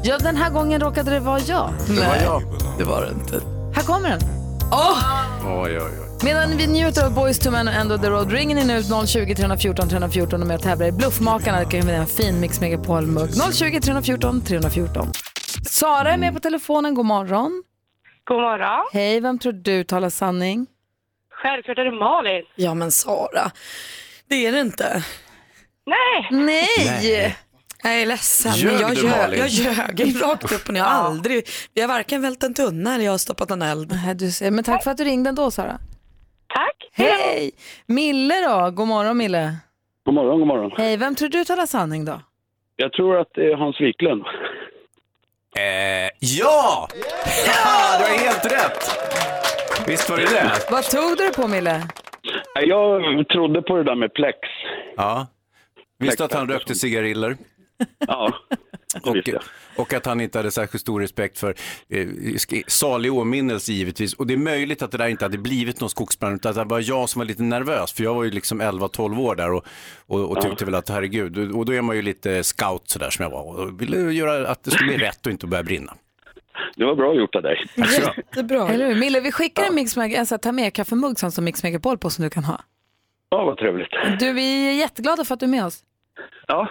[SPEAKER 1] ja, den här gången råkade det vara jag.
[SPEAKER 2] Det var jag.
[SPEAKER 3] Det var det inte.
[SPEAKER 1] Här kommer den. Åh!
[SPEAKER 3] Oj, oj, oj.
[SPEAKER 1] Medan vi njuter av Boys to Men och End of the Road ringer ni nu 020 314 314 och med och tävlar i Bluffmakarna. Det kan ju vinna en fin Mix Megapol-mugg. 020 314 314. Sara är med på telefonen. God morgon.
[SPEAKER 7] God morgon.
[SPEAKER 1] Hej, vem tror du talar sanning?
[SPEAKER 7] Självklart är det Malin.
[SPEAKER 2] Ja men Sara, det är det inte.
[SPEAKER 7] Nej!
[SPEAKER 1] Nej!
[SPEAKER 2] Nej. Jag är ledsen, men
[SPEAKER 7] Ljög
[SPEAKER 2] jag,
[SPEAKER 7] du,
[SPEAKER 2] ljög,
[SPEAKER 7] Malin?
[SPEAKER 2] jag ljög rakt upp och ner. Jag har aldrig, vi har varken vält en tunna eller jag har stoppat en eld.
[SPEAKER 1] Nej, du ser. Men tack för att du ringde ändå, Sara. Tack. Hej! Mille då? God morgon, Mille.
[SPEAKER 10] God morgon, god morgon.
[SPEAKER 1] Hej, vem tror du talar sanning då?
[SPEAKER 10] Jag tror att det är Hans Wiklund.
[SPEAKER 3] Eh, ja! Ja, du har helt rätt. Visst var det det?
[SPEAKER 1] Vad tog du det på, Mille?
[SPEAKER 10] Jag trodde på det där med plex.
[SPEAKER 3] Ja. Visste att han rökte cigariller?
[SPEAKER 10] Ja,
[SPEAKER 3] och, och att han inte hade särskilt stor respekt för eh, sk- salig åminnelse givetvis. Och det är möjligt att det där inte hade blivit någon skogsbrand utan att det var jag som var lite nervös för jag var ju liksom 11-12 år där och, och, och tyckte väl att herregud, och då är man ju lite scout sådär som jag var och ville göra att det skulle bli rätt och inte börja brinna.
[SPEAKER 10] Det var bra gjort av dig.
[SPEAKER 1] Det är bra. Eller hur? Mille, vi skickar en Mix Meg- en sån här ta med kaffemugg sån som Mix Megapol på som du kan ha.
[SPEAKER 10] Ja, vad trevligt.
[SPEAKER 1] Du, vi är jätteglada för att du är med oss.
[SPEAKER 10] Ja.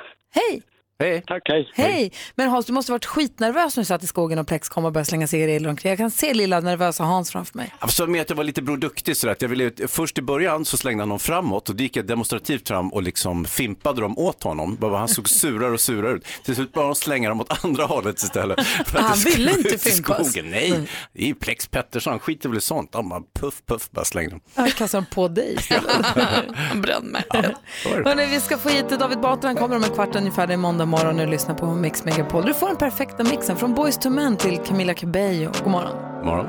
[SPEAKER 1] Hej!
[SPEAKER 3] Hej.
[SPEAKER 10] Tack, hej.
[SPEAKER 1] Hej! Men Hans, du måste ha varit skitnervös när du satt i skogen och Plex kom och började slänga cigaretter omkring. Jag kan se lilla nervösa Hans framför mig.
[SPEAKER 3] Jag sa med att jag var lite Bror Duktig sådär, att jag ville, först i början så slängde han dem framåt och då gick jag demonstrativt fram och liksom fimpade dem åt honom. Bara, han såg surare och surare ut. Till slut började de slänga dem åt andra hållet istället. för att
[SPEAKER 2] Han
[SPEAKER 3] det skulle
[SPEAKER 2] ville
[SPEAKER 3] gå
[SPEAKER 2] inte
[SPEAKER 3] ut i
[SPEAKER 2] fimpas.
[SPEAKER 3] Skogen. Nej, det är ju Plex Pettersson, han skiter väl i sånt. Han bara puff, puff, bara slängde dem.
[SPEAKER 1] Jag kastar dem på dig
[SPEAKER 2] Han brände mig.
[SPEAKER 1] Hörrni, vi ska få hit David Batra. Han kommer om en kvart ungefär. Det är måndag morgon och du lyssnar på Mix Megapol. Du får den perfekta mixen från Boys to Men till Camilla Cabello. God morgon.
[SPEAKER 3] Morgon.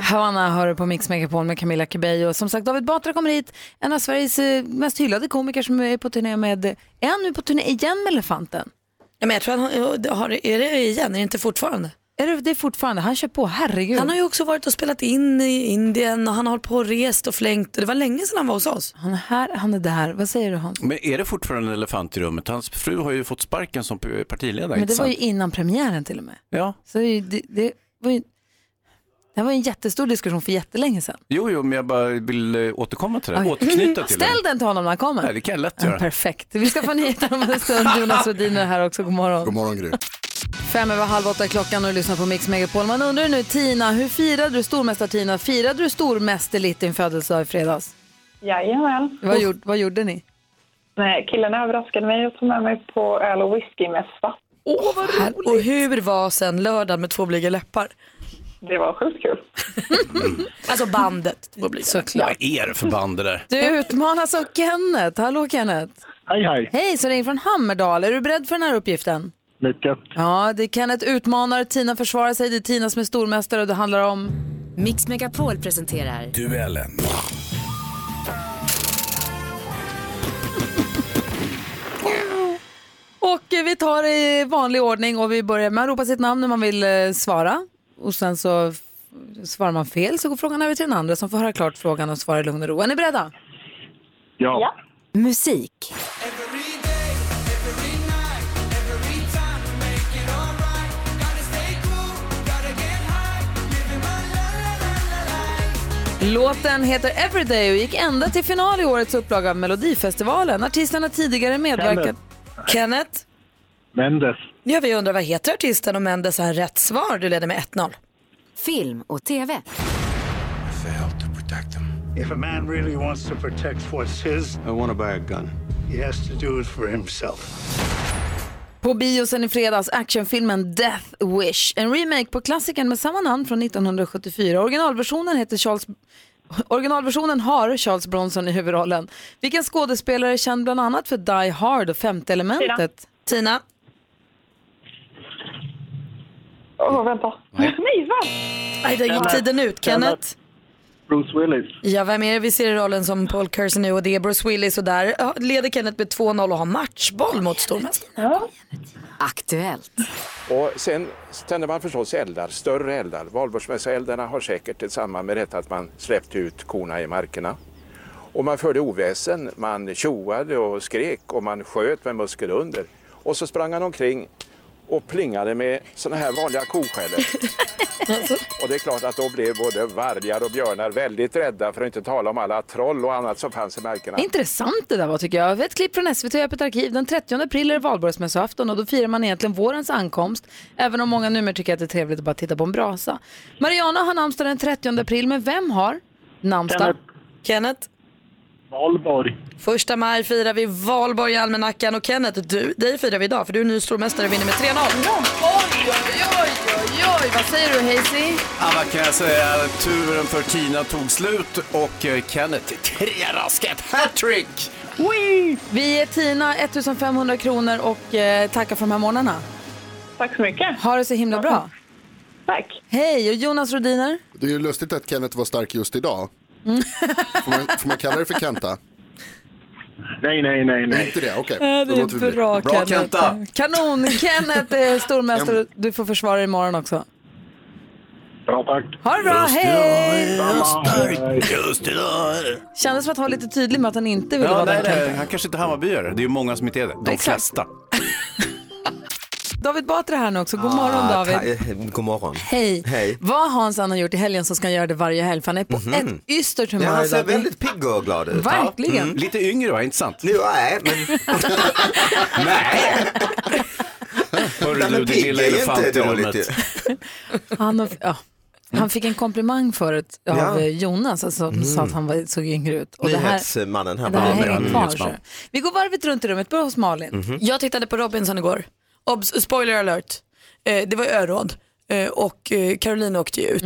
[SPEAKER 1] Havana hör du på Mix Megapol med Camilla Cabello. Som sagt, David Batra kommer hit, en av Sveriges eh, mest hyllade komiker som är på turné med, är han nu på turné igen med Elefanten?
[SPEAKER 2] Ja, men jag tror han har, har- är det igen, är det inte fortfarande?
[SPEAKER 1] Är det, det är fortfarande, han kör på, herregud.
[SPEAKER 2] Han har ju också varit och spelat in i Indien och han har hållit på och rest och flängt och det var länge sedan han var hos oss.
[SPEAKER 1] Han är här, han är där. Vad säger du Hans?
[SPEAKER 3] Men är det fortfarande en elefant i rummet? Hans fru har ju fått sparken som p- partiledare.
[SPEAKER 1] Men
[SPEAKER 3] inte
[SPEAKER 1] det var ju
[SPEAKER 3] sant?
[SPEAKER 1] innan premiären till och med.
[SPEAKER 3] Ja.
[SPEAKER 1] Så det, är ju- det, det var ju det här var ju en jättestor diskussion för jättelänge sedan.
[SPEAKER 3] Jo, jo, men jag bara vill eh, återkomma till det,
[SPEAKER 1] Okej.
[SPEAKER 3] återknyta till
[SPEAKER 1] Ställ
[SPEAKER 3] det.
[SPEAKER 1] den till honom när han kommer.
[SPEAKER 3] Nej, det kan jag lätt
[SPEAKER 1] Ja,
[SPEAKER 3] göra.
[SPEAKER 1] Perfekt. Vi ska få nyheter om en stund. Jonas Rhodin är här också. God morgon.
[SPEAKER 11] God morgon Gry.
[SPEAKER 1] Fem över halv åtta är klockan och du lyssnar på Mix Megapol. Man undrar nu, Tina, hur firade du stormästar-Tina? Firade du stormästerligt din födelsedag i fredags?
[SPEAKER 5] Jajamän.
[SPEAKER 1] Vad, gjorde, vad gjorde ni?
[SPEAKER 5] Nej, killarna överraskade mig och tog med mig på öl och whiskymässa.
[SPEAKER 2] Åh, vad roligt. Och hur var sen lördagen med två blyga läppar?
[SPEAKER 5] Det var sjukt kul.
[SPEAKER 2] [laughs] Alltså bandet. Två blyga.
[SPEAKER 3] Vad är det för band det där?
[SPEAKER 1] Du utmanas av Kenneth. Hallå Kenneth!
[SPEAKER 12] Hej, hej.
[SPEAKER 1] Hej, så ringer från Hammerdal. Är du beredd för den här uppgiften?
[SPEAKER 12] Mycket.
[SPEAKER 1] Ja, det är Kenneth utmanar, Tina försvarar sig, det är Tina som är stormästare och det handlar om...
[SPEAKER 8] Mix Megapol presenterar
[SPEAKER 13] Duellen.
[SPEAKER 1] Och eh, vi tar det i vanlig ordning och vi börjar med att ropa sitt namn när man vill eh, svara. Och sen så f- svarar man fel så går frågan över till den andra som får höra klart frågan och svara i lugn och ro. Är ni beredda?
[SPEAKER 12] Ja.
[SPEAKER 1] Musik. Låten heter Everyday och gick ända till final i årets upplaga av Melodifestivalen. Artisten har tidigare medverkat...
[SPEAKER 2] Kenneth?
[SPEAKER 12] Mendes.
[SPEAKER 2] Ja, vi undrar vad heter artisten och Mendes har rätt svar. Du leder med 1-0. Film och TV.
[SPEAKER 14] If a man really wants to protect what's his, I want to buy a gun. He has to do it for himself.
[SPEAKER 1] På bio sen i fredags actionfilmen Death Wish. En remake på klassikern med samma namn från 1974. Originalversionen heter Charles... Originalversionen har Charles Bronson i huvudrollen. Vilken skådespelare är känd bland annat för Die Hard och Femte elementet?
[SPEAKER 2] Tina.
[SPEAKER 5] Åh, vänta. Nej, va?
[SPEAKER 2] Aj, där gick
[SPEAKER 5] Kenneth.
[SPEAKER 2] tiden ut. Kenneth.
[SPEAKER 12] Bruce Willis.
[SPEAKER 2] Ja, vem är det vi ser i rollen som Paul Kersey nu och det är Bruce Willis och där ja, leder Kenneth med 2-0 och har matchboll mot stormästaren.
[SPEAKER 8] Aktuellt.
[SPEAKER 11] Och sen tänder man förstås eldar, större eldar. Valborgsmässoeldarna har säkert ett samband med detta att man släppte ut korna i markerna. Och man förde oväsen, man tjoade och skrek och man sköt med muskel under. Och så sprang han omkring och plingade med sådana här vanliga
[SPEAKER 3] [laughs]
[SPEAKER 11] koskällor. och det är klart att då blev både vargar och björnar väldigt rädda för att inte tala om alla troll och annat som fanns i markerna.
[SPEAKER 1] Intressant det där var tycker jag. Ett klipp från SVT Öppet arkiv. Den 30 april är det valborgsmässoafton och då firar man egentligen vårens ankomst. Även om många numera tycker att det är trevligt att bara titta på en brasa. Mariana har namnsdag den 30 april, men vem har namnsdag?
[SPEAKER 2] Kenneth.
[SPEAKER 12] Valborg.
[SPEAKER 2] Första maj firar vi Valborg i almanackan och Kenneth, du, dig firar vi idag för du är ny stormästare och vinner med 3-0.
[SPEAKER 1] Oj, oj, oj, oj, oj, vad säger du Hazy?
[SPEAKER 3] Ja, vad kan jag säga? Turen för Tina tog slut och eh, Kenneth tre rasket hattrick!
[SPEAKER 1] Vi är Tina, 1500 kronor och eh, tackar för de här morgnarna.
[SPEAKER 5] Tack så mycket.
[SPEAKER 1] Ha det så himla bra.
[SPEAKER 5] Tack.
[SPEAKER 1] Hej, och Jonas Rodiner?
[SPEAKER 13] Det är ju lustigt att Kenneth var stark just idag. Får man, får man kalla det för Kenta?
[SPEAKER 12] Nej, nej, nej, nej.
[SPEAKER 13] Inte det, okej.
[SPEAKER 1] Ja,
[SPEAKER 13] Då
[SPEAKER 1] det
[SPEAKER 13] låter vi
[SPEAKER 1] är
[SPEAKER 13] bli.
[SPEAKER 1] bra, Kenneth. Kanon! Kenneth är stormästare. Du får försvara dig imorgon också.
[SPEAKER 12] Bra, tack.
[SPEAKER 1] Ha det bra, hej!
[SPEAKER 3] Just idag!
[SPEAKER 1] Kändes som att han var lite tydlig med att han inte ville
[SPEAKER 3] Ja,
[SPEAKER 1] vara
[SPEAKER 3] nej,
[SPEAKER 1] den
[SPEAKER 3] nej,
[SPEAKER 1] Kenneth.
[SPEAKER 3] han kanske inte är Hammarbyare. Det är ju många som inte är det. De
[SPEAKER 1] Exakt.
[SPEAKER 3] flesta.
[SPEAKER 1] David Batra är här nu också. God morgon
[SPEAKER 15] Ah,
[SPEAKER 1] David.
[SPEAKER 15] ta- eh, God morgon.
[SPEAKER 1] Hej.
[SPEAKER 15] Hej.
[SPEAKER 1] Vad Hans Ann har gjort i helgen som ska han göra det varje helg för han är på
[SPEAKER 15] Mhm.
[SPEAKER 1] ett ystert
[SPEAKER 15] Ja,
[SPEAKER 1] humör
[SPEAKER 15] han ser
[SPEAKER 1] idag. Det-
[SPEAKER 15] väldigt Mm. pigg och glad ut.
[SPEAKER 1] Verkligen.
[SPEAKER 3] Mm. Lite yngre va, inte sant?
[SPEAKER 15] Nu, nej, men...
[SPEAKER 1] [laughs]
[SPEAKER 15] [laughs] nej.
[SPEAKER 3] Hörru du, din
[SPEAKER 15] pigg
[SPEAKER 3] lilla
[SPEAKER 15] är ju
[SPEAKER 3] elefant
[SPEAKER 15] inte
[SPEAKER 3] i
[SPEAKER 15] dåligt
[SPEAKER 3] rummet.
[SPEAKER 15] ju.
[SPEAKER 1] Han, har, ja. han fick en komplimang förut av
[SPEAKER 15] Ja. Mm.
[SPEAKER 1] eh, Jonas alltså, som sa att han var, såg yngre ut. Och det här,
[SPEAKER 15] Nyhetsmannen här.
[SPEAKER 1] det här
[SPEAKER 15] Ja,
[SPEAKER 1] hänger
[SPEAKER 15] men-
[SPEAKER 1] kvar.
[SPEAKER 15] nyhetsman.
[SPEAKER 1] så. Vi går varvet runt i rummet. Börja hos Malin.
[SPEAKER 15] Mhm.
[SPEAKER 2] Jag tittade på Robinson igår. Obs, spoiler alert. Eh, det var öråd. Eh, och eh, Caroline åkte ju ut.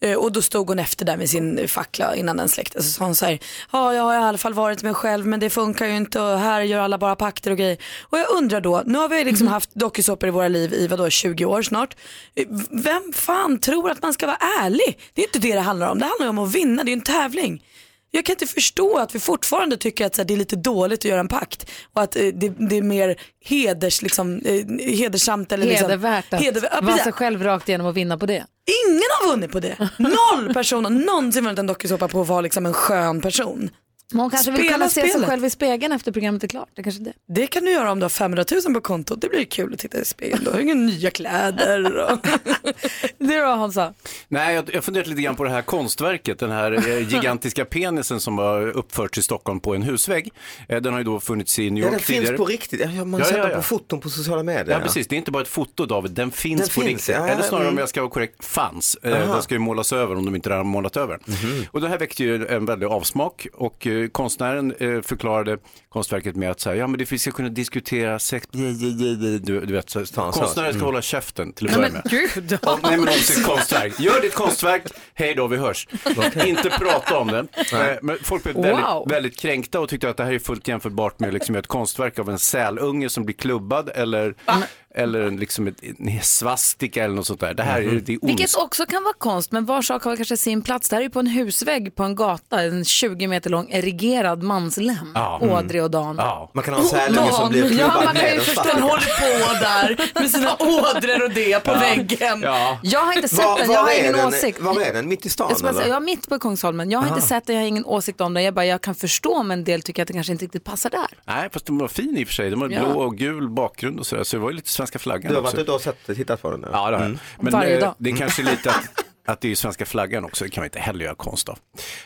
[SPEAKER 2] Eh, och då stod hon efter där med sin fackla innan den släcktes. Så sa hon så här, ja jag har i alla fall varit mig själv men det funkar ju inte och här gör alla bara pakter och grejer. Och jag undrar då, nu har vi liksom haft dokusåpor i våra liv i vadå 20 år snart. Eh, v- Vem fan tror att man ska vara ärlig? Det är inte det det handlar om, det handlar ju om att vinna, det är ju en tävling. Jag kan inte förstå att vi fortfarande tycker att så här, det är lite dåligt att göra en pakt och att eh, det, det är mer heders, liksom, eh, hedersamt. Eller
[SPEAKER 1] Hedervärt
[SPEAKER 2] liksom,
[SPEAKER 1] att
[SPEAKER 2] hedervärt. Ja,
[SPEAKER 1] vara
[SPEAKER 2] precis.
[SPEAKER 1] sig själv rakt igenom och vinna på det.
[SPEAKER 2] Ingen har vunnit på
[SPEAKER 1] [laughs]
[SPEAKER 2] det. Noll personer har någonsin vunnit en dokusåpa på att vara liksom en skön person.
[SPEAKER 1] Men hon kanske vill
[SPEAKER 2] Spela
[SPEAKER 1] kunna se sig
[SPEAKER 2] spelet.
[SPEAKER 1] själv i spegeln efter programmet är klart. Det kanske är [laughs] det.
[SPEAKER 2] Det kan du göra om du har 500 000 på kontot. Det blir kul att titta i spegeln. Då har du inga nya kläder. Och...
[SPEAKER 1] [laughs] Du då Hansa?
[SPEAKER 3] Nej, jag, jag funderat lite grann på det här konstverket, den här eh, gigantiska penisen som har uppförts i Stockholm på en husvägg. Eh, Den har ju då funnits i New
[SPEAKER 15] Ja,
[SPEAKER 3] York
[SPEAKER 15] den
[SPEAKER 3] tidigare.
[SPEAKER 15] finns på riktigt. Ja, Ja, man
[SPEAKER 3] Ja,
[SPEAKER 15] ser
[SPEAKER 3] ja,
[SPEAKER 15] den
[SPEAKER 3] ja.
[SPEAKER 15] på foton på sociala medier.
[SPEAKER 3] Ja, precis. Det är inte bara ett foto, David. Den finns
[SPEAKER 15] Den
[SPEAKER 3] på
[SPEAKER 15] finns,
[SPEAKER 3] riktigt.
[SPEAKER 15] ja, ja,
[SPEAKER 3] Eller snarare om
[SPEAKER 15] mm.
[SPEAKER 3] jag ska vara korrekt, fanns. Eh,
[SPEAKER 15] Aha. Mhm.
[SPEAKER 3] Den ska ju målas över om de inte redan har målat över. Och det här väckte ju en väldig avsmak och eh, konstnären eh, förklarade konstverket med att säga, ja men det vi ska kunna diskutera sex, du, du vet, så,
[SPEAKER 15] sak.
[SPEAKER 3] konstnären ska
[SPEAKER 15] Mm.
[SPEAKER 3] hålla käften till att börja med.
[SPEAKER 1] [laughs] Gud.
[SPEAKER 3] Om, nej men om sitt konstverk. Gör ditt konstverk, hej då, vi hörs.
[SPEAKER 15] Okej.
[SPEAKER 3] Inte prata om det.
[SPEAKER 15] Nej.
[SPEAKER 3] Eh, Men folk blev
[SPEAKER 15] Wow.
[SPEAKER 3] väldigt, väldigt kränkta och tyckte att det här är fullt jämförbart med liksom ett konstverk av en sälunge som blir klubbad eller, eller en, liksom ett, en svastika eller något sånt där. Det här är, det
[SPEAKER 15] Mm-hmm.
[SPEAKER 3] är ons-
[SPEAKER 1] Vilket också kan vara konst, men var sak har kanske sin plats. Det här är ju på en husvägg på en gata, en 20 meter lång erigerad manslem.
[SPEAKER 15] Ja.
[SPEAKER 1] Ådre och Dan.
[SPEAKER 15] Man kan ha en sälunge som blir
[SPEAKER 1] Ja,
[SPEAKER 15] klubbad
[SPEAKER 1] man kan ju
[SPEAKER 15] med en
[SPEAKER 1] förstå.
[SPEAKER 15] spark.
[SPEAKER 1] Den håller på där
[SPEAKER 15] [laughs]
[SPEAKER 1] med [laughs] sina ådror och det på väggen.
[SPEAKER 15] Ja.
[SPEAKER 1] Jag har inte sett
[SPEAKER 15] Var-
[SPEAKER 1] den,
[SPEAKER 15] var
[SPEAKER 1] jag har
[SPEAKER 15] är
[SPEAKER 1] ingen
[SPEAKER 15] den?
[SPEAKER 1] åsikt.
[SPEAKER 15] Var är den? Mitt i stan,
[SPEAKER 1] Jag, ska bara säga,
[SPEAKER 15] eller?
[SPEAKER 1] jag är mitt på Kungsholmen, jag har
[SPEAKER 15] Aha.
[SPEAKER 1] inte sett den, jag har ingen åsikt om den. Jag bara, jag kan förstå, men del tycker att det kanske inte riktigt passar där.
[SPEAKER 3] Nej, fast den var fin i och för sig. Den var
[SPEAKER 1] Ja.
[SPEAKER 3] blå och gul bakgrund och sådär, så det var ju lite svenska flaggan
[SPEAKER 15] Du har
[SPEAKER 3] också.
[SPEAKER 15] varit ute och sett, tittat på den nu?
[SPEAKER 3] Ja, det har jag. Men
[SPEAKER 15] Varje
[SPEAKER 3] eh,
[SPEAKER 15] dag.
[SPEAKER 3] det är kanske
[SPEAKER 15] Mm.
[SPEAKER 3] lite att, att det är svenska flaggan också, det kan man inte heller göra konst av.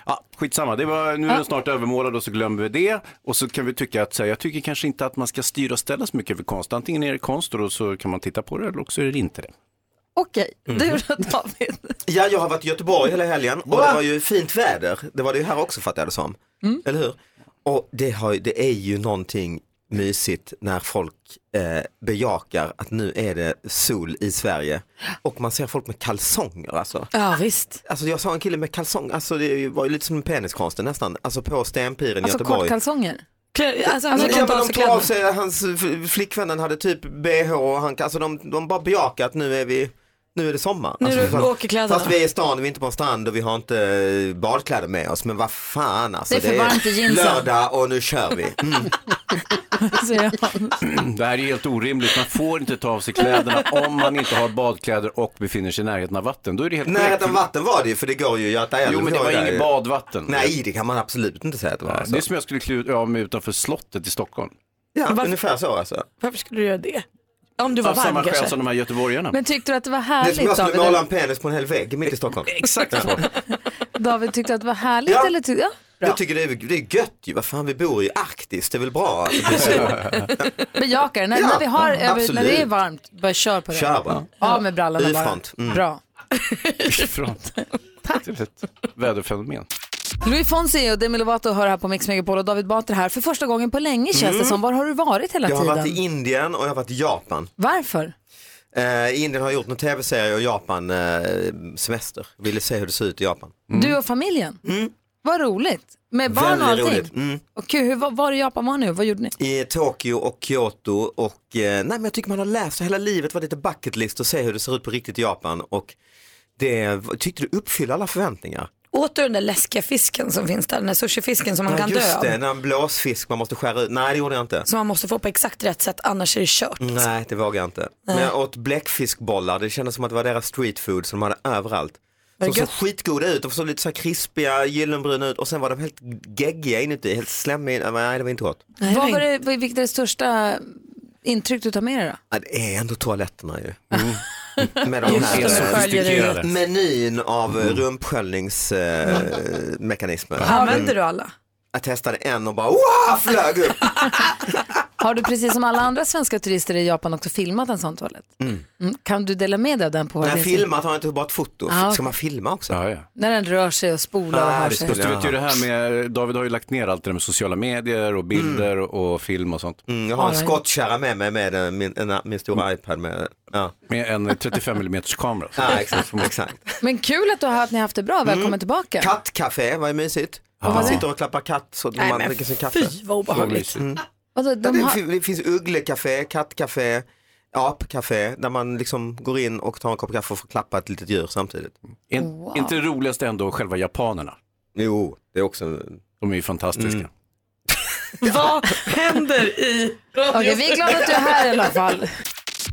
[SPEAKER 3] Ja, skitsamma, det var, nu är den snart övermålad och så glömmer vi det. Och så kan vi tycka att, så här, jag tycker kanske inte att man ska styra och ställa så mycket över konst. Antingen är det konst och då så kan man titta på det eller också är det inte det. [clears throat]
[SPEAKER 1] Okej, du
[SPEAKER 15] Mhm.
[SPEAKER 1] då David?
[SPEAKER 15] Ja, jag har varit i Göteborg hela helgen och
[SPEAKER 1] Va?
[SPEAKER 15] det var ju fint väder. Det var det ju här också fattade jag det som. Eller hur? Och det, har, ju- det är ju någonting mysigt när folk eh, bejakar att nu är det sol i Sverige och man ser folk med kalsonger alltså.
[SPEAKER 1] [laughs] Ja visst.
[SPEAKER 15] Alltså jag sa en kille med kalsong, alltså det var ju lite som en peniskonsten nästan, alltså på Stenpiren i
[SPEAKER 1] Alltså
[SPEAKER 15] Göteborg.
[SPEAKER 1] kortkalsonger?
[SPEAKER 2] Alltså,
[SPEAKER 15] Alltså, ja, men de tog av sig, hans f- flickvännen hade typ bh och han, alltså de, de bara bejakar att nu är vi, nu är det sommar.
[SPEAKER 2] Nu
[SPEAKER 15] Alltså, fast-
[SPEAKER 2] åker kläderna.
[SPEAKER 15] Fast vi är i stan, vi är inte på en strand och vi har inte eh, badkläder med oss. Men vad fan alltså.
[SPEAKER 1] Det är för varmt i jeansen.
[SPEAKER 15] lördag och nu kör
[SPEAKER 3] [laughs]
[SPEAKER 15] vi. Mm.
[SPEAKER 1] Säger han.
[SPEAKER 3] Det här är helt orimligt. Man får inte ta av
[SPEAKER 15] [laughs]
[SPEAKER 3] sig kläderna om man inte har badkläder och befinner sig i närheten av vatten. Då är det helt korrekt.
[SPEAKER 15] Närheten vatten var det ju för det går ju i Göta älv.
[SPEAKER 3] Jo, men det
[SPEAKER 15] Vi har
[SPEAKER 3] var
[SPEAKER 15] ju där
[SPEAKER 3] inget
[SPEAKER 15] ju.
[SPEAKER 3] badvatten.
[SPEAKER 15] Nej, det kan man absolut inte säga att det var. Alltså.
[SPEAKER 3] Det är som jag skulle klä ut- av mig utanför slottet i Stockholm.
[SPEAKER 15] Ja, ungefär så alltså.
[SPEAKER 2] Varför skulle du göra det? Om du
[SPEAKER 3] Av
[SPEAKER 2] var
[SPEAKER 3] samma
[SPEAKER 2] varm
[SPEAKER 3] skäl
[SPEAKER 2] kanske?
[SPEAKER 3] som de här göteborgarna.
[SPEAKER 1] Men tyckte du att det var
[SPEAKER 15] Det är som
[SPEAKER 1] härligt
[SPEAKER 15] jag
[SPEAKER 1] David?
[SPEAKER 15] skulle måla en
[SPEAKER 1] eller-
[SPEAKER 15] penis på en hel vägg mitt i Stockholm.
[SPEAKER 2] Exakt
[SPEAKER 15] så.
[SPEAKER 1] David tyckte att det var härligt
[SPEAKER 15] Ja.
[SPEAKER 1] eller tyckte... Ja.
[SPEAKER 15] Jag tycker det är, det är gött ju, vad fan vi bor ju i Arktis, det är väl bra? Alltså, precis.
[SPEAKER 1] Bejakar det. När, när, vi har, över, när det är
[SPEAKER 15] absolut.
[SPEAKER 1] varmt, bara kör på det.
[SPEAKER 15] Kör bara.
[SPEAKER 1] Av med brallorna
[SPEAKER 15] I
[SPEAKER 1] bara.
[SPEAKER 15] front. Mm.
[SPEAKER 1] Bra.
[SPEAKER 3] Från
[SPEAKER 15] [laughs]
[SPEAKER 3] till ett väderfenomen.
[SPEAKER 1] Louis Fonsi och Demi Lovato hör här på Mix Megapol och David Batra här för första gången på länge känns
[SPEAKER 15] Mm.
[SPEAKER 1] det som. Var har du varit hela
[SPEAKER 15] Jag har
[SPEAKER 1] tiden?
[SPEAKER 15] varit i Indien och jag har varit i Japan.
[SPEAKER 1] Varför?
[SPEAKER 15] Eh, Indien har gjort en tv-serie och Japan eh, semester. Ville se hur det ser ut i Japan.
[SPEAKER 1] Du och familjen? Vad roligt. Med barn
[SPEAKER 15] Mm. Väldigt
[SPEAKER 1] och allting?
[SPEAKER 15] roligt. Mm.
[SPEAKER 1] Och kul, hur, var, var i Japan var ni och vad gjorde ni?
[SPEAKER 15] I Tokyo och Kyoto och eh, nej men jag tycker man har läst hela livet var lite bucket list och se hur det ser ut på riktigt i Japan och det tyckte du uppfyller alla förväntningar.
[SPEAKER 2] Åt du den där läskiga fisken som finns där? Den där sushifisken som man
[SPEAKER 15] ja,
[SPEAKER 2] kan dö
[SPEAKER 15] just
[SPEAKER 2] av?
[SPEAKER 15] det, när en blåsfisk man måste skära ut. Nej det gjorde jag inte.
[SPEAKER 2] Som man måste få på exakt rätt sätt annars är det kört.
[SPEAKER 15] Nej det vågar jag inte. Men
[SPEAKER 2] Nej.
[SPEAKER 15] jag åt bläckfiskbollar, det kändes som att det var deras street food som de hade överallt.
[SPEAKER 2] Vad
[SPEAKER 15] Som såg
[SPEAKER 2] gött.
[SPEAKER 15] skitgoda ut, de såg lite så här krispiga, gyllenbruna ut och sen var de helt geggiga inuti, helt slemmiga. Nej det var inte gott.
[SPEAKER 1] vad var det, vad- vilket är det största intryck du tar med dig då?
[SPEAKER 15] Ja, det är ändå toaletterna ju. Mm. Med de
[SPEAKER 1] Just det, de
[SPEAKER 15] här
[SPEAKER 1] sköljer det
[SPEAKER 15] eh,
[SPEAKER 1] ut.
[SPEAKER 15] menyn av mm. rumpsköljningsmekanismer.
[SPEAKER 2] Använder du alla?
[SPEAKER 15] Jag testade eh, en och bara wow, flög upp.
[SPEAKER 1] Har du precis som alla andra svenska turister i Japan också filmat en sån toalett?
[SPEAKER 15] Mm.
[SPEAKER 1] Mm. Kan du dela med dig av den på
[SPEAKER 15] När
[SPEAKER 1] vår
[SPEAKER 15] jag
[SPEAKER 1] Instagram?
[SPEAKER 15] filmat har jag inte bara ett foto.
[SPEAKER 1] Ja.
[SPEAKER 15] Ska man filma också?
[SPEAKER 3] Ja, ja.
[SPEAKER 1] När den rör sig och spolar och
[SPEAKER 3] Ah,
[SPEAKER 1] har
[SPEAKER 3] det
[SPEAKER 1] sig.
[SPEAKER 3] skulle jag vet ju det här med, David har ju lagt ner allt det där med sociala medier och bilder och, och film och sånt.
[SPEAKER 15] Mm, Jag har en skottkärra med mig med eh, min, en, min
[SPEAKER 1] Mm.
[SPEAKER 15] stora iPad med. Ja.
[SPEAKER 3] Med en 35 mm kamera.
[SPEAKER 15] Ja, exakt. exakt.
[SPEAKER 1] Men kul att, du har, att ni har haft det bra. Välkommen
[SPEAKER 15] Mm.
[SPEAKER 1] tillbaka.
[SPEAKER 15] Kattcafé var ju mysigt.
[SPEAKER 1] Ja.
[SPEAKER 15] Man sitter och klappar katt så att
[SPEAKER 1] Nej,
[SPEAKER 15] man
[SPEAKER 1] men
[SPEAKER 15] dricker sin kaffe.
[SPEAKER 1] fy, vad obehagligt.
[SPEAKER 15] Mm.
[SPEAKER 1] Vadå,
[SPEAKER 15] Ja,
[SPEAKER 1] de
[SPEAKER 15] det,
[SPEAKER 1] har...
[SPEAKER 15] fin- det finns uglecafé, kattcafé, apcafé där man liksom går in och tar en kopp kaffe och får klappa ett litet djur samtidigt.
[SPEAKER 3] Wow. Inte det roligaste ändå själva japanerna?
[SPEAKER 15] Jo, det är också...
[SPEAKER 3] De är ju fantastiska.
[SPEAKER 15] Mm.
[SPEAKER 2] Vad händer i
[SPEAKER 1] Okej, vi är glada att du är här i alla fall.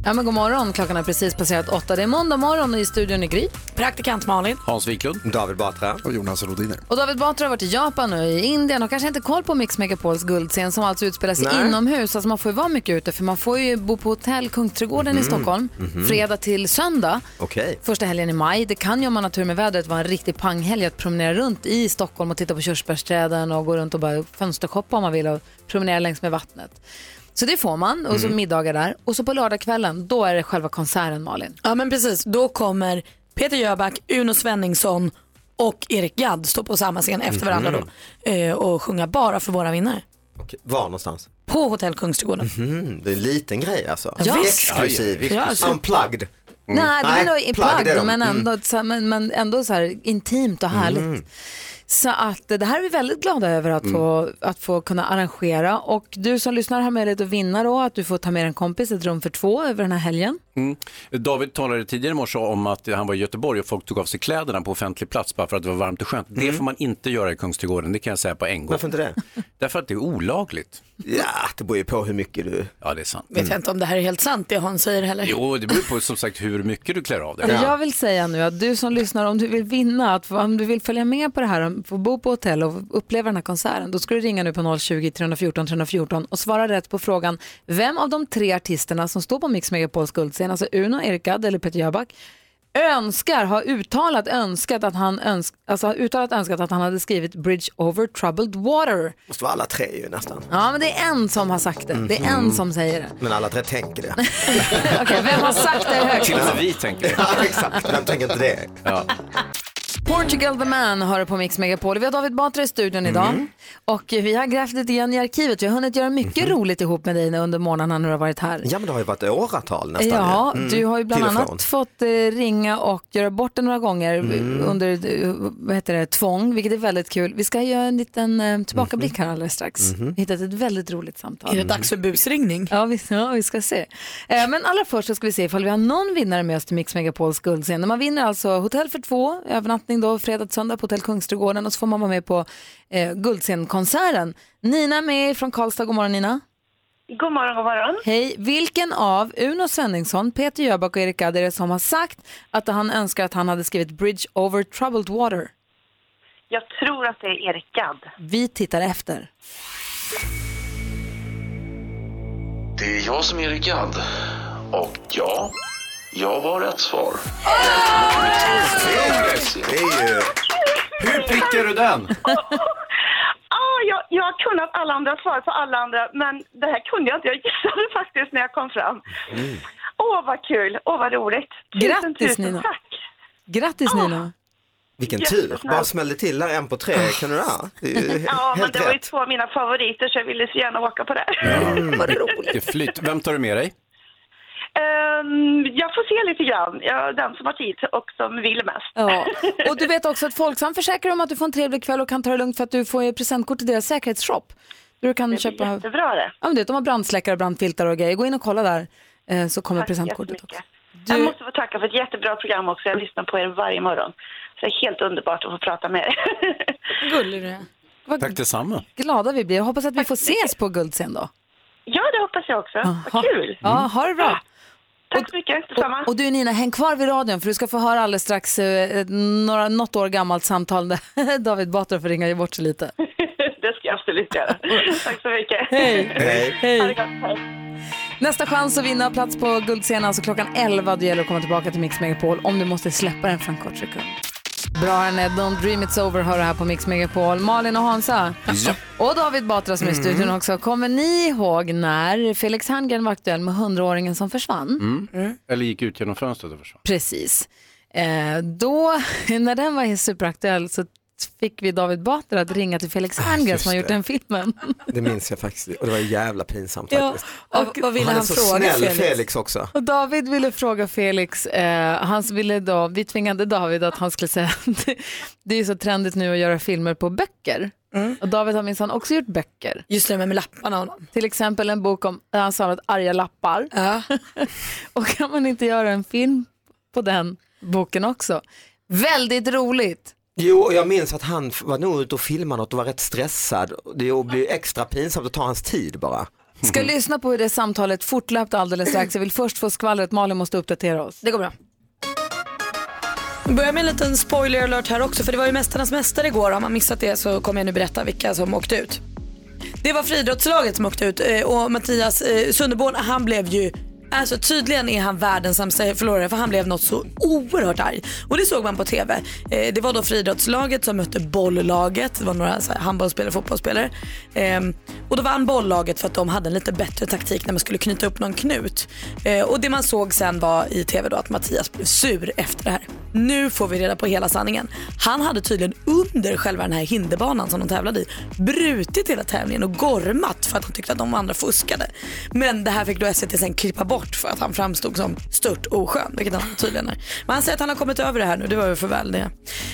[SPEAKER 1] Ja, men god morgon. Klockan har precis passerat åtta. Det är måndag morgon och i studion är Gry.
[SPEAKER 2] Praktikant Malin.
[SPEAKER 3] Hans Wiklund.
[SPEAKER 15] David Batra.
[SPEAKER 13] Och Jonas Rodiner.
[SPEAKER 1] Och David Batra har varit i Japan och i Indien och kanske inte koll på Mix Megapols guldscen som alltså utspelar sig
[SPEAKER 8] Nej.
[SPEAKER 1] inomhus. Alltså man får ju vara mycket ute för man får ju bo på hotell Kungsträdgården i
[SPEAKER 8] Mm.
[SPEAKER 1] Stockholm
[SPEAKER 8] Mhm.
[SPEAKER 1] fredag till söndag.
[SPEAKER 15] Okej.
[SPEAKER 1] Första helgen i maj. Det kan ju om man har tur med vädret vara en riktig panghelg att promenera runt i Stockholm och titta på körsbärsträden och gå runt och bara fönstershoppa om man vill och promenera längs med vattnet. Så det får man och så
[SPEAKER 2] Mm.
[SPEAKER 1] middagar där. Och så på lördagskvällen, då är det själva konserten Malin.
[SPEAKER 2] Ja men precis, då kommer Peter Jöback, Uno Svenningsson och Erik Gadd stå på samma scen efter varandra
[SPEAKER 15] Mhm.
[SPEAKER 2] då eh, och sjunga bara för våra vinnare.
[SPEAKER 15] Okej, Var någonstans?
[SPEAKER 2] På Hotell Kungsträdgården.
[SPEAKER 15] Mhm, det är en liten grej alltså.
[SPEAKER 2] Ja, visst.
[SPEAKER 15] Exklusiv.
[SPEAKER 2] Ja, alltså.
[SPEAKER 15] Unplugged.
[SPEAKER 1] Nej, det är nog i
[SPEAKER 15] är
[SPEAKER 1] plagg,
[SPEAKER 15] de.
[SPEAKER 1] men
[SPEAKER 15] Mm.
[SPEAKER 1] ändå, så, men, men ändå så här intimt och härligt.
[SPEAKER 15] Mm.
[SPEAKER 1] Så att eh, det här är vi väldigt glada över att, få, att få kunna arrangera. Och du som lyssnar har möjlighet att vinna då, att du får ta med en kompis ett rum för två över den här helgen.
[SPEAKER 3] Mm. David talade tidigare i morse om att han var i Göteborg och folk tog av sig kläderna på offentlig plats bara för att det var varmt och skönt. Det får man inte göra i Kungsträdgården, det kan jag säga på en gång.
[SPEAKER 15] Mm. Varför inte det?
[SPEAKER 3] Därför att det är olagligt.
[SPEAKER 15] Ja, det beror ju på hur mycket du...
[SPEAKER 3] Ja, det är sant.
[SPEAKER 2] Vet jag inte om det här är helt sant det han säger heller.
[SPEAKER 3] Jo, det beror på som sagt hur mycket du klär av dig.
[SPEAKER 1] Det jag vill säga nu att du som lyssnar, om du vill vinna, att, om du vill följa med på det här, om- få bo på hotell och uppleva den här konserten, då ska du ringa nu på 020-314 314 och svara rätt på frågan vem av de tre artisterna som står på Mix Megapols guldscen, alltså Uno, Erik Gadd eller Peter Jöback, önskar, har uttalat önskat att han, önsk, alltså, har uttalat önskat att han hade skrivit Bridge over troubled water.
[SPEAKER 15] Måste vara alla tre ju nästan.
[SPEAKER 1] Ja, men det är en som har sagt det. Det är en
[SPEAKER 15] Mhm.
[SPEAKER 1] som säger det. [laughs]
[SPEAKER 15] Men alla tre tänker det.
[SPEAKER 1] Okej, vem har sagt det högt?
[SPEAKER 3] Till och med vi tänker det.
[SPEAKER 15] Ja, exakt. Vem tänker inte det?
[SPEAKER 3] Ja.
[SPEAKER 1] Portugal the man har det på Mix Megapol. Vi har David Batra i studion idag.
[SPEAKER 16] Mm.
[SPEAKER 1] Och vi har grävt lite igen i arkivet. Vi har hunnit göra mycket roligt ihop med dig under morgonen när du har varit här.
[SPEAKER 15] Mhm. Ja, men det har ju varit åratal nästan.
[SPEAKER 1] Ja,
[SPEAKER 15] ju. Mm.
[SPEAKER 1] du har ju bland
[SPEAKER 15] Till och
[SPEAKER 1] annat
[SPEAKER 15] från.
[SPEAKER 1] fått eh, ringa och göra bort det några gånger
[SPEAKER 15] Mm.
[SPEAKER 1] eh, under eh, vad heter det, tvång, vilket är väldigt kul. Vi ska göra en liten eh, tillbakablick här alldeles strax.
[SPEAKER 2] Mhm.
[SPEAKER 1] Vi har hittat ett väldigt roligt samtal.
[SPEAKER 15] Mm.
[SPEAKER 2] Är det dags för busringning?
[SPEAKER 1] Ja, vi, ja, vi ska se. Eh, men allra först så ska vi se ifall vi har någon vinnare med oss till Mix Megapols guldscen. Man vinner alltså hotell för två, övernattning då, fredag till söndag på Hotell Kungsträdgården och så får man vara med på eh, guldscenkonserten. Nina är med från Karlstad, god morgon Nina.
[SPEAKER 7] God morgon, god morgon.
[SPEAKER 1] Hej, vilken av Uno Svenningsson, Peter Jöback och Erik Gadd är det som har sagt att han önskar att han hade skrivit Bridge over troubled water?
[SPEAKER 7] Jag tror att det är Erik Gadd.
[SPEAKER 1] Vi tittar efter.
[SPEAKER 17] Det är jag som är Erik Gadd. Och ja, jag har rätt svar.
[SPEAKER 3] Det är ju... Hur prickar du den?
[SPEAKER 7] Ah, jag, jag har kunnat alla andra svar på alla andra, men det här kunde jag inte. Jag gissade [laughs] faktiskt när jag kom fram. Åh, vad kul! Åh, vad roligt! Tusen,
[SPEAKER 15] Grattis,
[SPEAKER 7] tusen
[SPEAKER 15] Nina.
[SPEAKER 7] tack! Ah,
[SPEAKER 1] Grattis Nina!
[SPEAKER 15] Vilken tur,
[SPEAKER 7] Jättesnabbt.
[SPEAKER 15] bara smällde till där en på tre. Kan du det? här? Det är ju he-
[SPEAKER 7] Ja, men
[SPEAKER 15] helt
[SPEAKER 7] det var ju
[SPEAKER 15] rätt.
[SPEAKER 7] två av mina favoriter, så jag ville så gärna åka på det.
[SPEAKER 3] Vad roligt. Flyt. Vem tar du med dig?
[SPEAKER 7] Ehm, jag får se lite grann. Jag är den som har tid och som vill mest.
[SPEAKER 1] Ja. Och du vet också att Folksam försäkrar om att du får en trevlig kväll och kan ta det lugnt för att du får ju presentkort till deras säkerhetsshop. Där du kan det köpa...
[SPEAKER 7] jättebra det.
[SPEAKER 1] Ja, men du vet, de har brandsläckare, brandfiltar och grejer. Gå in och kolla där eh, så kommer
[SPEAKER 7] Tack
[SPEAKER 1] presentkortet också.
[SPEAKER 7] jättemycket. Jag måste få tacka för ett jättebra program också. Jag lyssnar på er varje morgon. Så det är helt underbart att få prata med er.
[SPEAKER 1] Gullig du är. Vad
[SPEAKER 3] Tack detsamma.
[SPEAKER 1] glada vi blir. Jag hoppas att vi får ses på Guldscen då.
[SPEAKER 7] Ja, det hoppas jag också. Vad kul!
[SPEAKER 1] Ja, ha det bra.
[SPEAKER 7] Tack så mycket, detsamma.
[SPEAKER 1] Och du Nina, häng kvar vid radion för du ska få höra alldeles strax eh, ett- några, något år gammalt samtal där [laughs] David Batra får ringa bort sig lite.
[SPEAKER 7] [laughs] Det ska jag absolut
[SPEAKER 1] [laughs]
[SPEAKER 7] göra. Tack så mycket.
[SPEAKER 1] Hej. Hej.
[SPEAKER 7] Ha det gott, hej.
[SPEAKER 1] Nästa chans att vinna plats på Guldscenen alltså klockan 11. Det gäller att komma tillbaka till Mix Megapol om du måste släppa den för en kort sekund. Bra Ned, Don't Dream It's Over hör du här på Mix Megapol. Malin och Hansa och David Batra som är i studion också. Kommer ni ihåg när Felix Herngren var aktuell med 100-åringen som försvann?
[SPEAKER 3] Mm. Eller gick ut genom fönstret och försvann.
[SPEAKER 1] Precis. Eh, då, [laughs] när den var superaktuell så fick vi David Batra att ringa till Felix Herngren
[SPEAKER 15] just
[SPEAKER 1] som har gjort
[SPEAKER 15] det.
[SPEAKER 1] den filmen.
[SPEAKER 15] Det minns jag faktiskt. Och det var jävla pinsamt
[SPEAKER 1] Ja,
[SPEAKER 15] faktiskt.
[SPEAKER 1] och vad ville
[SPEAKER 15] är
[SPEAKER 1] han
[SPEAKER 15] så
[SPEAKER 1] fråga
[SPEAKER 15] snäll
[SPEAKER 1] Felix?
[SPEAKER 15] Felix, också.
[SPEAKER 1] Och David ville fråga Felix, eh, han ville då, vi tvingade David att han skulle säga [laughs] att det är så trendigt nu att göra filmer på böcker.
[SPEAKER 2] Mm.
[SPEAKER 1] Och David har minsann också gjort böcker.
[SPEAKER 2] Just det, men med lapparna och
[SPEAKER 1] Till exempel en bok om, där han sa att
[SPEAKER 2] [laughs]
[SPEAKER 1] arga lappar. och kan man inte göra en film på den boken också? Väldigt roligt.
[SPEAKER 15] Jo, och jag minns att han f- var nog ute och filmade något och var rätt stressad. Det blir ju extra pinsamt att ta hans tid bara.
[SPEAKER 2] [laughs]
[SPEAKER 1] Ska lyssna på hur det samtalet fortlöpte alldeles strax. Jag vill först få skvallret, Malin måste uppdatera oss.
[SPEAKER 2] Det går bra. Börja med en liten spoiler alert här också för det var ju Mästarnas Mästare igår. Har man missat det så kommer jag nu berätta vilka som åkte ut. Det var friidrottslaget som åkte ut eh, och Mattias eh, Sunderborn han blev ju Alltså tydligen är han världens sämsta förlorare för han blev något så oerhört arg. Och det såg man på TV. Eh, det var då friidrottslaget som mötte bolllaget. Det var några så här, handbollsspelare och fotbollsspelare. Ehm, och då vann bolllaget för att de hade en lite bättre taktik när man skulle knyta upp någon knut. Eh, och det man såg sen var i TV då att Mattias blev sur efter det här. Nu får vi reda på hela sanningen. Han hade tydligen under själva den här hinderbanan som de tävlade i brutit hela tävlingen och gormat för att han tyckte att de andra fuskade. Men det här fick då SVT sen klippa bort för att han framstod som stört oskön, vilket han tydligen är. Men han säger att han har kommit över det här nu, det var ju för väl det.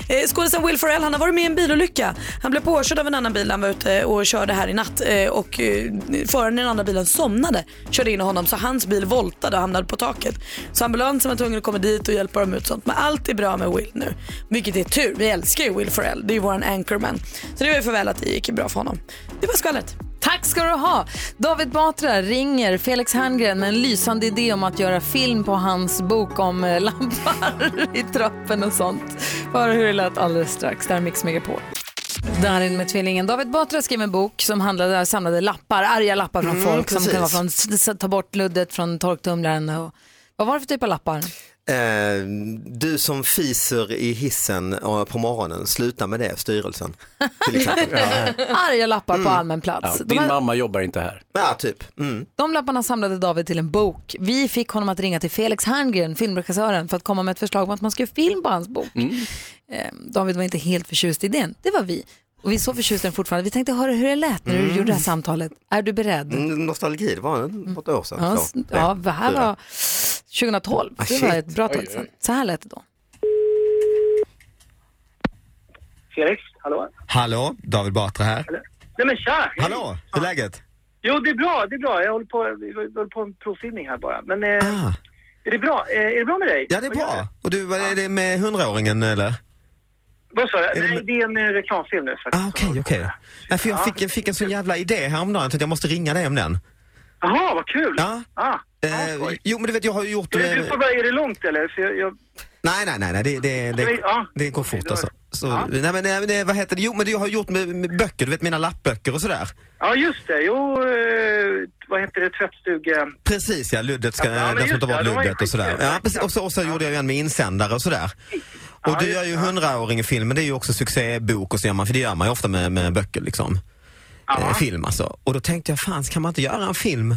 [SPEAKER 2] Eh, Skådisen Will Ferrell, han har varit med i en bilolycka. Han blev påkörd av en annan bil, han var ute eh, och körde här i natt eh, och eh, föraren i den andra bilen somnade, körde in i honom så hans bil voltade och hamnade på taket. Så ambulansen var tvungen att komma dit och hjälpa dem ut och sånt. Men allt är bra med Will nu, vilket är tur. Vi älskar ju Will Ferrell, det är ju våran anchorman. Så det var ju för väl att det gick bra för honom. Det var skvallret.
[SPEAKER 1] Tack ska du ha. David Batra ringer Felix Herngren med en lysande idé om att göra film på hans bok om eh, lampar [laughs] i trappen och sånt. Bara hur det lät alldeles strax. Där är Mix Megapol. Darin med tvillingen. David Batra skrev en bok som handlade samlade lappar, arga lappar från
[SPEAKER 15] Mm,
[SPEAKER 1] folk som
[SPEAKER 15] precis.
[SPEAKER 1] kan vara från s- s- ta bort luddet från torktumlaren och vad var det för typ av lappar?
[SPEAKER 15] Eh, du som fiser i hissen eh, på morgonen, sluta med det, styrelsen. Till exempel.
[SPEAKER 1] [laughs] Arga lappar på allmän plats.
[SPEAKER 3] Ja,
[SPEAKER 1] de,
[SPEAKER 3] din
[SPEAKER 1] här,
[SPEAKER 3] mamma jobbar inte här.
[SPEAKER 15] Ja, typ. Mm.
[SPEAKER 1] de lapparna samlade David till en bok. Vi fick honom att ringa till Felix Herngren, filmregissören, för att komma med ett förslag om att man skulle göra film på hans bok. Eh, David var inte helt förtjust i idén. Det var vi. Och vi är så förtjusta i den fortfarande. Vi tänkte höra hur det lät när du
[SPEAKER 15] Mm.
[SPEAKER 1] gjorde det här samtalet. Är du beredd?
[SPEAKER 15] Mm, Nostalgi, det var något år sedan.
[SPEAKER 1] Ja,
[SPEAKER 15] två,
[SPEAKER 1] s-
[SPEAKER 7] alltså,
[SPEAKER 15] tre,
[SPEAKER 1] ja, det här
[SPEAKER 15] fyra.
[SPEAKER 1] var 2012.
[SPEAKER 15] Ah,
[SPEAKER 1] Det var
[SPEAKER 15] shit.
[SPEAKER 1] ett bra tag
[SPEAKER 15] Oj,
[SPEAKER 1] sedan.
[SPEAKER 15] oj.
[SPEAKER 1] Så här lät det då.
[SPEAKER 16] Felix, hallå?
[SPEAKER 15] Hallå, David Batra här.
[SPEAKER 16] Nej men tja! hej.
[SPEAKER 15] Hallå, hur är läget?
[SPEAKER 16] Jo, det är bra, det är bra. Jag håller på, jag håller på en provfilmning här bara. Men eh, är det bra? Eh, är det bra med dig?
[SPEAKER 15] Ah. Ja, det är
[SPEAKER 16] Vad gör
[SPEAKER 15] bra.
[SPEAKER 16] du?
[SPEAKER 15] Och du, vad är det med hundraåringen eller?
[SPEAKER 16] Vad sa du? Nej, det är en eh, reklamfilm nu faktiskt.
[SPEAKER 15] Ah, Okej, okej. Nej, för jag, fick, jag fick en sån jävla idé häromdagen så att jag måste ringa dig om den.
[SPEAKER 16] Jaha, vad kul!
[SPEAKER 15] Ja.
[SPEAKER 16] Ah.
[SPEAKER 15] Eh, jo, men du vet, jag har ju gjort...
[SPEAKER 16] Du, du
[SPEAKER 15] eh,
[SPEAKER 16] får bara, är det långt eller? För jag, jag...
[SPEAKER 15] Nej, nej, nej, nej det, det, det,
[SPEAKER 16] Ja.
[SPEAKER 15] det går fort alltså. Så,
[SPEAKER 16] Ja.
[SPEAKER 15] nej, men, nej, men det- vad heter det? Jo, men det jag har gjort med, med böcker, du vet mina lappböcker och sådär.
[SPEAKER 16] Ja, just det. Jo, eh, vad heter det? Tvättstuga...
[SPEAKER 15] Precis ja, luddet ska,
[SPEAKER 16] Ja, men
[SPEAKER 15] den ska
[SPEAKER 16] just
[SPEAKER 15] ta
[SPEAKER 16] det,
[SPEAKER 15] bort
[SPEAKER 16] de har ju
[SPEAKER 15] luddet och sådär.
[SPEAKER 16] skitkul.
[SPEAKER 15] Ja, precis, och så, och så gjorde jag ju en med insändare och sådär. Och du gör ju hundraåring-film, men det är ju också succébok och så gör man, för det gör man ju ofta med, med böcker liksom. Eh, film alltså. Och då tänkte jag, fan kan man inte göra en film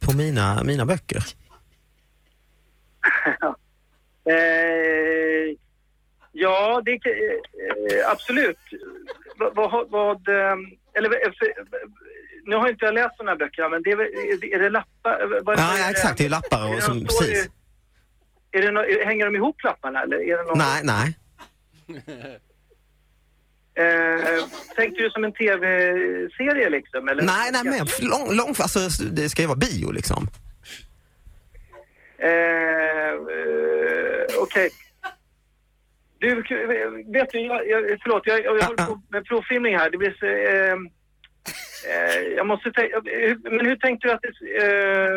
[SPEAKER 15] på mina,
[SPEAKER 16] [laughs]
[SPEAKER 15] mina böcker?
[SPEAKER 16] Eh, ja, det, kan- eh, eh, absolut. Vad... vad, vad ehm, eller, eh, för, nu har inte jag läst de här böckerna, men det är, väl- är, det- är det lappar? eh, Vad-
[SPEAKER 15] Ja, ja exakt, det är ju lappar och som,
[SPEAKER 16] står det-
[SPEAKER 15] precis.
[SPEAKER 16] Är det nå- är- hänger de ihop lapparna eller? Är det någon,
[SPEAKER 15] Nej, nej.
[SPEAKER 16] Eh, tänkte du som en tv-serie liksom? Eller?
[SPEAKER 15] Nej, nej, men lång, lång, alltså det ska ju vara bio liksom.
[SPEAKER 16] Eh, eh, Okej. Du, k- vet du, jag, jag, förlåt, jag,
[SPEAKER 15] Ah,
[SPEAKER 16] jag håller på med provfilmning här. Det blir så, eh, eh, jag måste tänka, men hur tänkte du att det, eh,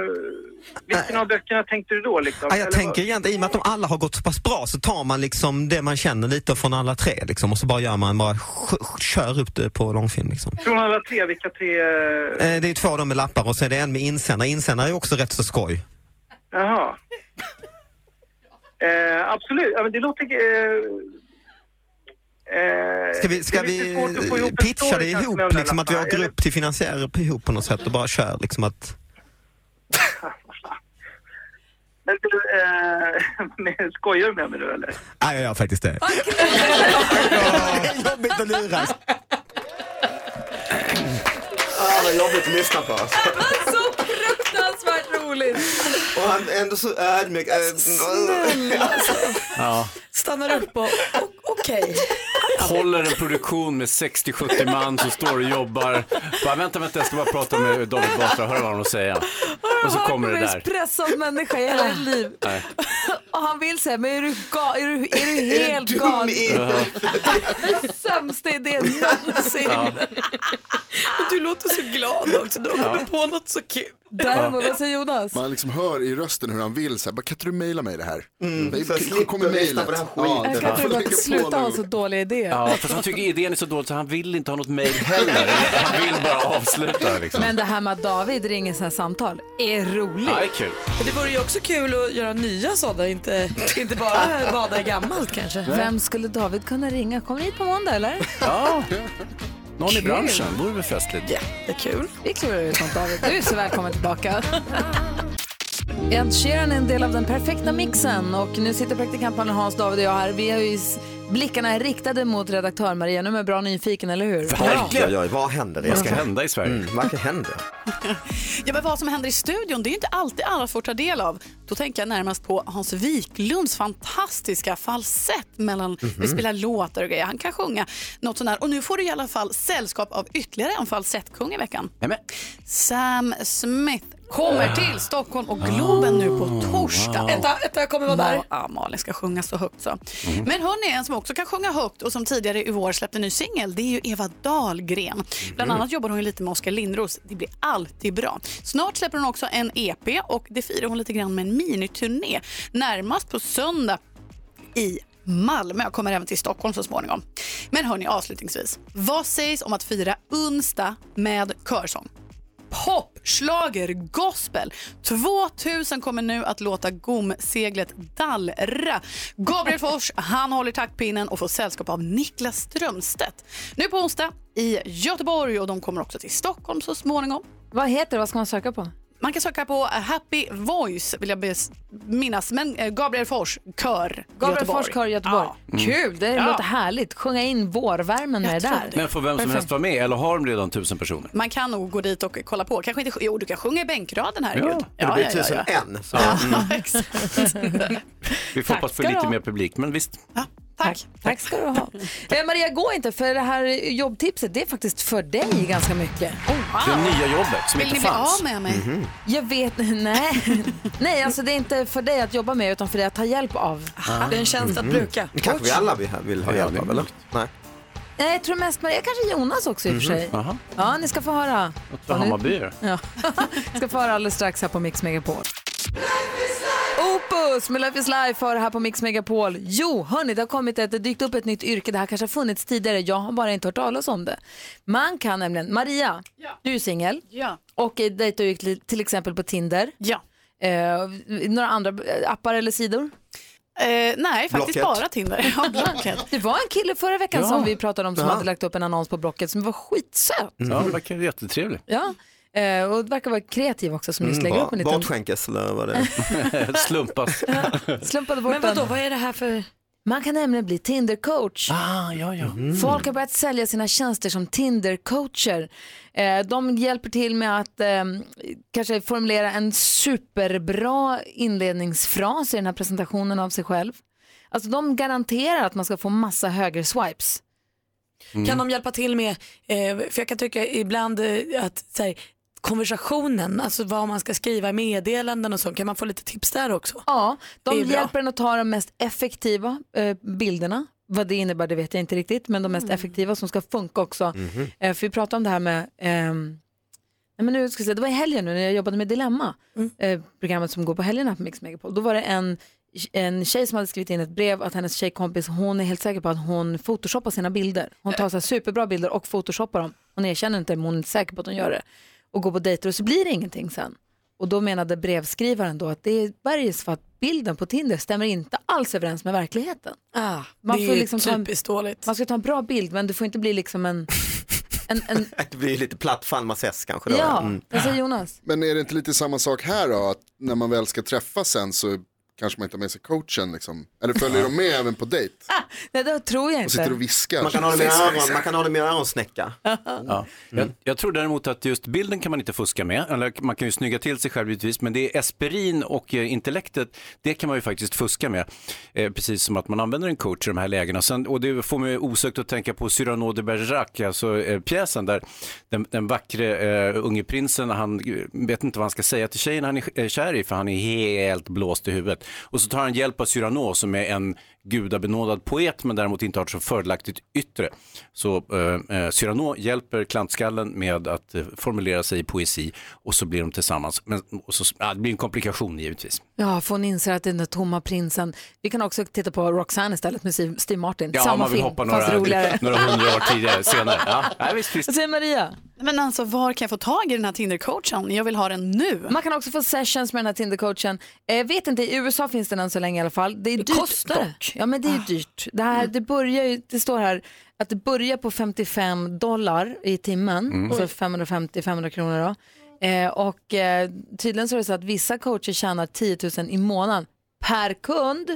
[SPEAKER 16] vilken av böckerna tänkte du då liksom?
[SPEAKER 15] Ja, Ah, jag
[SPEAKER 16] Eller vad-
[SPEAKER 15] tänker egentligen, i och med att de alla har gått så pass bra så tar man liksom det man känner lite från alla tre liksom och så bara gör man, bara sj- sj- kör upp det på långfilm liksom.
[SPEAKER 16] Från alla tre, vilka tre? eh,
[SPEAKER 15] Eh, Det är ju två av dem med lappar och så är det en med insändare. Insändare är också rätt så skoj.
[SPEAKER 16] Jaha. Eh, absolut, ja, men det låter... Eh, eh,
[SPEAKER 15] Ska vi, ska
[SPEAKER 16] det är lite
[SPEAKER 15] vi
[SPEAKER 16] svårt att få ihop en
[SPEAKER 15] pitcha
[SPEAKER 16] story
[SPEAKER 15] det
[SPEAKER 16] kanske
[SPEAKER 15] ihop
[SPEAKER 16] med de där
[SPEAKER 15] liksom att vi
[SPEAKER 16] lapparna,
[SPEAKER 15] åker
[SPEAKER 16] eller?
[SPEAKER 15] upp till finansiärer på ihop på något sätt och bara kör liksom att...
[SPEAKER 16] Men du, eh, [laughs] skojar du med mig nu eller?
[SPEAKER 15] Nej, jag gör faktiskt det. [laughs] Jobbigt att luras. Ah, vad jobbigt att lyssna på.
[SPEAKER 1] Så fruktansvärt roligt!
[SPEAKER 15] Och han är ändå så ödmjuk. Äh, [laughs]
[SPEAKER 2] Snälla.
[SPEAKER 3] Ja.
[SPEAKER 2] Stannar upp och, och okej.
[SPEAKER 3] Håller en produktion med 60-70 man som står och jobbar. Bara, vänta, vänta, jag ska bara prata med David Batra, höra vad han har att säga. Och så kommer det där.
[SPEAKER 1] pressad människa i hela ditt liv.
[SPEAKER 3] Nej.
[SPEAKER 1] [laughs] Och han vill säga, men är du, ga- är du, är du helt galen? [laughs] Sämsta idén någonsin.
[SPEAKER 2] Ja. Du låter så glad också. Du har kommit på något så kul.
[SPEAKER 1] Däremot, vad säger Jonas?
[SPEAKER 13] Man liksom hör i rösten hur han vill så här, bara, kan inte du mejla mig det här?
[SPEAKER 15] Mm,
[SPEAKER 13] Nej,
[SPEAKER 15] så jag
[SPEAKER 13] k-
[SPEAKER 15] slipper
[SPEAKER 13] kommer
[SPEAKER 15] lyssna
[SPEAKER 13] mejlet.
[SPEAKER 15] på den här skiten.
[SPEAKER 13] Ja, det-
[SPEAKER 1] Jag kan inte
[SPEAKER 13] får
[SPEAKER 1] bara
[SPEAKER 13] lägga på
[SPEAKER 1] sluta
[SPEAKER 13] nu.
[SPEAKER 1] ha så dåliga idéer.
[SPEAKER 3] Ja, fast han tycker idén är så dålig så han vill inte ha något mejl heller. Han vill bara avsluta liksom.
[SPEAKER 1] Men det här med att David ringer sådana här samtal är roligt.
[SPEAKER 3] Ja, det är kul.
[SPEAKER 2] Men Det vore ju också kul att göra nya sådana, inte, inte bara bada i gammalt kanske.
[SPEAKER 1] Vem skulle David kunna ringa? Kommer ni hit på måndag eller?
[SPEAKER 3] Ja, någon i
[SPEAKER 1] Kul.
[SPEAKER 3] branschen, vore väl festligt.
[SPEAKER 2] Jättekul.
[SPEAKER 1] Vi klurar ut något David. Du är så välkommen tillbaka. Ed Sheeran är en del av den perfekta mixen och nu sitter praktikantmannen Hans, David och jag här. Vi har ju s- blickarna är riktade mot redaktör Maria. Nu är man bra nyfiken, eller hur?
[SPEAKER 15] Oj, oj, oj, vad händer
[SPEAKER 3] Vad ska hända i Sverige?
[SPEAKER 15] Mm, vad kan hända?
[SPEAKER 18] Ja, men vad som händer i studion det är ju inte alltid alla får ta del av. Då tänker jag närmast på Hans Wiklunds fantastiska falsett mellan vi spelar låtar och grejer. Han kan sjunga något sånt där. Och nu får du i alla fall sällskap av ytterligare en falsettkung i veckan. Sam Smith kommer till Stockholm och Globen nu på torsdag.
[SPEAKER 2] wow. Vänta, vänta, jag kommer vara där.
[SPEAKER 18] Ma- Ja, Malin ska sjunga så högt så. Men hon är en som också kan sjunga högt och som tidigare i vår släppte en ny singel. Det är ju Eva Dahlgren. Bland
[SPEAKER 19] Mhm.
[SPEAKER 18] annat jobbar hon ju lite med Oskar Lindros. Det blir alltid bra. Snart släpper hon också en EP och det firar hon lite grann med en miniturné. Närmast på söndag i Malmö. Jag kommer även till Stockholm så småningom. Men hörni, avslutningsvis. Vad sägs om att fira onsdag med körsång? pop, schlager, gospel. 2000 kommer nu att låta gomseglet dallra. Gabriel Fors, han håller taktpinnen och får sällskap av Niklas Strömstedt. Nu på onsdag i Göteborg och de kommer också till Stockholm så småningom.
[SPEAKER 1] Vad heter det? Vad ska man söka på?
[SPEAKER 18] Man kan söka på Happy Voice vill jag bes- minnas, men eh, Gabriel Fors kör
[SPEAKER 1] Gabriel
[SPEAKER 18] Göteborg.
[SPEAKER 1] Fors kör Göteborg.
[SPEAKER 3] Ja. Mm.
[SPEAKER 1] Kul, det
[SPEAKER 18] Ja.
[SPEAKER 1] låter härligt. Sjunga in vårvärmen med det där.
[SPEAKER 3] Men får vem som
[SPEAKER 1] Perfekt.
[SPEAKER 3] helst vara med eller har de redan tusen personer?
[SPEAKER 18] Man kan nog gå dit och kolla på. Kanske inte, jo, du kan sjunga i bänkraden, herregud.
[SPEAKER 3] Ja, men det blir tusen en, så. Mm.
[SPEAKER 18] [laughs]
[SPEAKER 3] Vi får hoppas på
[SPEAKER 1] ska du
[SPEAKER 3] lite
[SPEAKER 1] ha.
[SPEAKER 3] mer publik, men visst.
[SPEAKER 1] Tack. Tack ska du ha. [laughs] Eh, Maria, gå inte för det här jobbtipset, det är faktiskt för dig ganska mycket.
[SPEAKER 3] Det nya jobbet som
[SPEAKER 1] Vill
[SPEAKER 3] inte
[SPEAKER 1] ni bli
[SPEAKER 3] fanns.
[SPEAKER 1] av med mig?
[SPEAKER 3] Mhm.
[SPEAKER 1] Jag vet [laughs] nej. nej, alltså det är inte för dig att jobba med utan för dig att ta hjälp av.
[SPEAKER 15] Mm. Det kanske vi alla vill ha- vill ha hjälp av, eller? Nej.
[SPEAKER 1] Nej, jag tror mest Maria, kanske Jonas också i och för sig.
[SPEAKER 15] Aha.
[SPEAKER 1] Ja, ni ska få höra.
[SPEAKER 3] För Hammarby.
[SPEAKER 1] Ja. [laughs] ska få höra alldeles strax här på Mix Megapol. Opus med Life is Life för här på Mix Megapol. Jo, hörni, det har kommit ett, det dykt upp ett nytt yrke. Det här kanske har funnits tidigare, jag har bara inte hört talas om det. Man kan nämligen, Maria, du är singel
[SPEAKER 18] Ja.
[SPEAKER 1] och eh, dejtar ju till- till exempel på Tinder.
[SPEAKER 18] Ja.
[SPEAKER 1] Eh, några andra eh, appar eller sidor?
[SPEAKER 18] Eh, nej, faktiskt Blocket. bara Tinder. [laughs]
[SPEAKER 1] [laughs]
[SPEAKER 18] Ja, Blocket.
[SPEAKER 1] Det var en kille förra veckan
[SPEAKER 3] Ja.
[SPEAKER 1] som vi pratade om som
[SPEAKER 3] Ja. Mm.
[SPEAKER 1] hade lagt upp en annons på Blocket som var skitsöt.
[SPEAKER 3] Ja, det verkar jättetrevlig.
[SPEAKER 1] Ja, eh, och verkar vara kreativ också som just
[SPEAKER 15] Mm,
[SPEAKER 1] lägger
[SPEAKER 15] bra.
[SPEAKER 1] upp en liten...
[SPEAKER 15] Bortskänkes eller vad det
[SPEAKER 1] [laughs]
[SPEAKER 15] är.
[SPEAKER 3] [laughs] Slumpas.
[SPEAKER 1] Slumpade bort
[SPEAKER 2] Men vadå,
[SPEAKER 1] den.
[SPEAKER 2] vad är det här för...
[SPEAKER 1] Man kan nämligen bli Tinder-coach. Mm.
[SPEAKER 3] Ah, ja, ja.
[SPEAKER 1] Folk har börjat sälja sina tjänster som Tinder-coacher. Eh, de hjälper till med att eh, kanske formulera en superbra inledningsfras i den här presentationen av sig själv. Alltså de garanterar att man ska få massa högre swipes.
[SPEAKER 2] Kan de hjälpa till med, eh, för jag kan tycka ibland eh, att så här, konversationen, alltså vad man ska skriva i meddelanden och så, kan man få lite tips där också?
[SPEAKER 1] Ja,
[SPEAKER 2] Det
[SPEAKER 1] De
[SPEAKER 2] är bra.
[SPEAKER 1] hjälper en att ta de mest effektiva eh, bilderna. Vad det innebär det vet jag inte riktigt, men de mest
[SPEAKER 2] Mm.
[SPEAKER 1] effektiva som ska funka också.
[SPEAKER 20] Mhm.
[SPEAKER 1] Eh, för vi pratade om det här med, ehm, nej men nu ska jag säga, det var i helgen nu när jag jobbade med Dilemma,
[SPEAKER 2] Mm.
[SPEAKER 1] eh, programmet som går på helgerna på Mix Megapol. Då var det en, en tjej som hade skrivit in ett brev att hennes tjejkompis, hon är helt säker på att hon photoshoppar sina bilder. Hon tar så här superbra bilder och photoshoppar dem. Hon erkänner inte det, men hon är säker på att hon gör det. Och går på dejter och så blir det ingenting sen. Och då menade brevskrivaren då att det är bergs för att bilden på Tinder stämmer inte alls överens med verkligheten.
[SPEAKER 2] Ah,
[SPEAKER 1] Man
[SPEAKER 2] det
[SPEAKER 1] får
[SPEAKER 2] är
[SPEAKER 1] liksom ta en-
[SPEAKER 2] typiskt dåligt.
[SPEAKER 1] Man ska ta en bra bild men du får inte bli liksom en... en, en
[SPEAKER 15] Det blir ju lite platt Fanmas S kanske då.
[SPEAKER 1] ja,
[SPEAKER 15] Mm.
[SPEAKER 1] vad säger Jonas?
[SPEAKER 13] Men är det inte lite samma sak här då? Att när man väl ska träffas sen så kanske man inte har med sig coachen liksom. Eller följer de med även på dejt?
[SPEAKER 1] [laughs] Nej, det tror jag
[SPEAKER 13] Och
[SPEAKER 1] inte.
[SPEAKER 13] sitter och viskar.
[SPEAKER 15] Man kan ha det med öron, man kan ha det med öronsnäcka.
[SPEAKER 3] Ja. Jag, jag tror däremot att just bilden kan man inte fuska med. Eller man kan ju snygga till sig själv givetvis, men det är esperin och eh, intellektet, det kan man ju faktiskt fuska med. Eh, precis som att man använder en coach i de här lägena. Sen, och det får mig osökt att tänka på Cyrano de Bergerac, alltså eh, pjäsen där den, den vackre eh, unge prinsen, han eh, vet inte vad han ska säga till tjejen han är eh, kär i, för han är helt blåst i huvudet. Och så tar han hjälp av Cyrano som är en gudabenådad poet men däremot inte har ett så fördelaktigt yttre. Så eh, eh, Cyrano hjälper klantskallen med att eh, formulera sig i poesi och så blir de tillsammans. Men, och så, ja, det blir en komplikation givetvis.
[SPEAKER 1] Ja, för hon inser att det är den där tomma prinsen. Vi kan också titta på Roxanne istället med Steve Steve Martin.
[SPEAKER 3] Ja,
[SPEAKER 1] Samma
[SPEAKER 3] man vill
[SPEAKER 1] film,
[SPEAKER 3] hoppa
[SPEAKER 1] fast
[SPEAKER 3] några,
[SPEAKER 1] roligare.
[SPEAKER 3] [laughs] några hundra år tidigare, senare. Ja, nej, visst, visst.
[SPEAKER 1] Vad säger Maria?
[SPEAKER 18] Men alltså, var kan jag få tag i den här Tinder-coachen? Jag vill ha den nu.
[SPEAKER 1] Man kan också få sessions med den här Tinder-coachen. Eh, vet inte, i USA finns den än så länge i alla fall. Det är dyrt
[SPEAKER 2] kostar det?
[SPEAKER 1] dock. Ja, men det är ju
[SPEAKER 15] Ah.
[SPEAKER 1] dyrt. Det, här,
[SPEAKER 15] Mm.
[SPEAKER 1] det, börjar ju, det står här att det börjar på 55 dollar i timmen,
[SPEAKER 20] Mm.
[SPEAKER 1] alltså
[SPEAKER 20] Oj.
[SPEAKER 1] 550-500 kronor då. Eh, och eh, tydligen så är det så att vissa coacher tjänar 10 000 i månaden per kund.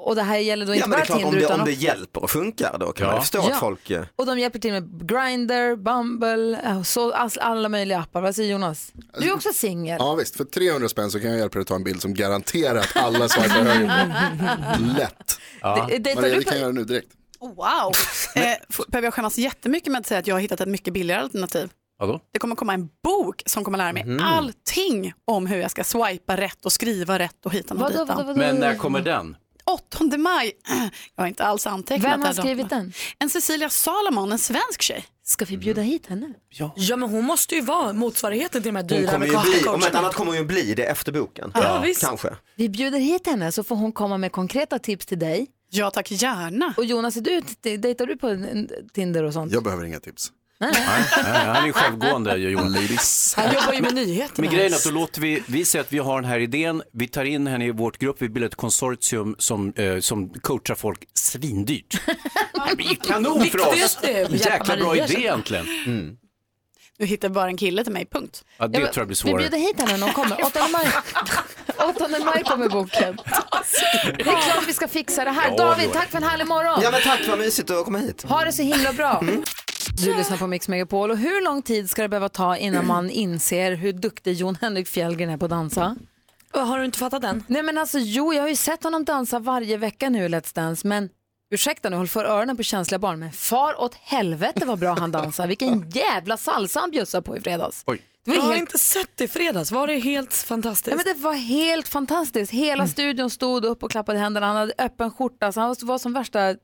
[SPEAKER 1] Och det här gäller då
[SPEAKER 15] Ja
[SPEAKER 1] inte
[SPEAKER 15] men det är
[SPEAKER 1] bara
[SPEAKER 15] klart
[SPEAKER 1] Tinder
[SPEAKER 15] om det,
[SPEAKER 1] utan
[SPEAKER 15] om det
[SPEAKER 1] också-
[SPEAKER 15] hjälper och funkar då kan man förstå
[SPEAKER 1] Ja.
[SPEAKER 15] att folk... eh,
[SPEAKER 1] Och de hjälper till med Grindr, Bumble, eh, så, alltså alla möjliga appar. Vad säger Jonas? Du är
[SPEAKER 15] Alltså-
[SPEAKER 1] också singel.
[SPEAKER 13] Ja visst, för 300 spänn så kan jag hjälpa dig att ta en bild som garanterar att alla swipar höger. Lätt.
[SPEAKER 18] Det- det-
[SPEAKER 13] Maria,
[SPEAKER 18] du
[SPEAKER 13] vi kan
[SPEAKER 18] kan-
[SPEAKER 13] göra det nu direkt.
[SPEAKER 18] Oh,
[SPEAKER 1] [laughs]
[SPEAKER 18] Wow! Eh, f- behöver jag skämmas jättemycket med att säga att jag har hittat ett mycket billigare alternativ?
[SPEAKER 3] Vadå?
[SPEAKER 18] Det kommer komma en bok som kommer lära mig
[SPEAKER 3] Mm.
[SPEAKER 18] allting om hur jag ska swipa rätt och skriva rätt och hitan och
[SPEAKER 1] Vadå, vadå,
[SPEAKER 18] ditan.
[SPEAKER 1] vadå?
[SPEAKER 3] Men eh, när kommer den?
[SPEAKER 18] 8 maj. [clears throat] Jag har inte alls antecknat
[SPEAKER 1] Vem har
[SPEAKER 18] det här
[SPEAKER 1] skrivit
[SPEAKER 18] datumet.
[SPEAKER 1] den?
[SPEAKER 18] En Cecilia Salomon, en svensk tjej.
[SPEAKER 1] Ska
[SPEAKER 3] Mm.
[SPEAKER 1] vi bjuda hit henne?
[SPEAKER 3] Ja.
[SPEAKER 2] men hon måste ju vara motsvarigheten till de här
[SPEAKER 15] Hon
[SPEAKER 2] dyra
[SPEAKER 15] kommer ju bli, om inte annat
[SPEAKER 2] amerikanska
[SPEAKER 15] kommer hon ju bli det efter boken.
[SPEAKER 2] Ja, Ja. visst.
[SPEAKER 15] Kanske.
[SPEAKER 1] Vi bjuder hit henne så får hon komma med konkreta tips till dig.
[SPEAKER 18] Ja tack, gärna.
[SPEAKER 1] Och Jonas, är du, dejtar du på Tinder och sånt?
[SPEAKER 13] Jag behöver inga tips.
[SPEAKER 3] Nej, han är ju självgående, Johan.
[SPEAKER 2] Han jobbar ju med nyheterna.
[SPEAKER 3] Men grejen är att då låter vi, vi säger att vi har den här idén, vi tar in henne i vårt grupp, vi bildar ett konsortium som, eh, som coachar folk
[SPEAKER 2] [laughs]
[SPEAKER 3] svindyrt. Kanon för oss! Jäkla bra idé egentligen.
[SPEAKER 18] Nu hittar bara en kille till mig, punkt.
[SPEAKER 3] Ja, det tror jag blir svårare.
[SPEAKER 1] Vi bjuder hit henne när
[SPEAKER 3] [laughs]
[SPEAKER 1] hon kommer. 8 maj, 8 maj kommer boken. Det är klart vi ska fixa det här.
[SPEAKER 15] Ja,
[SPEAKER 1] David,
[SPEAKER 15] Johan.
[SPEAKER 1] tack för en härlig morgon.
[SPEAKER 15] Ja men tack, vad mysigt att komma hit. Mm.
[SPEAKER 1] Ha det så himla bra. Du lyssnar på Mix Megapol. Och hur lång tid ska det behöva ta innan man inser hur duktig Jon Henrik Fjällgren är på att dansa?
[SPEAKER 2] Har du inte fattat den?
[SPEAKER 1] Nej men alltså jo, jag har ju sett honom dansa varje vecka nu i Let's Dance, men ursäkta nu, håll för öronen på känsliga barn, men far åt helvete vad bra han dansar. Vilken jävla salsa han bjussade på i fredags. Det var
[SPEAKER 2] jag har
[SPEAKER 1] helt-
[SPEAKER 2] inte sett det i fredags. Var det helt fantastiskt?
[SPEAKER 1] Ja, men det var helt fantastiskt.
[SPEAKER 2] Mm.
[SPEAKER 1] Hela studion stod upp och klappade händerna. Han hade öppen skjorta, så han var- var som värsta...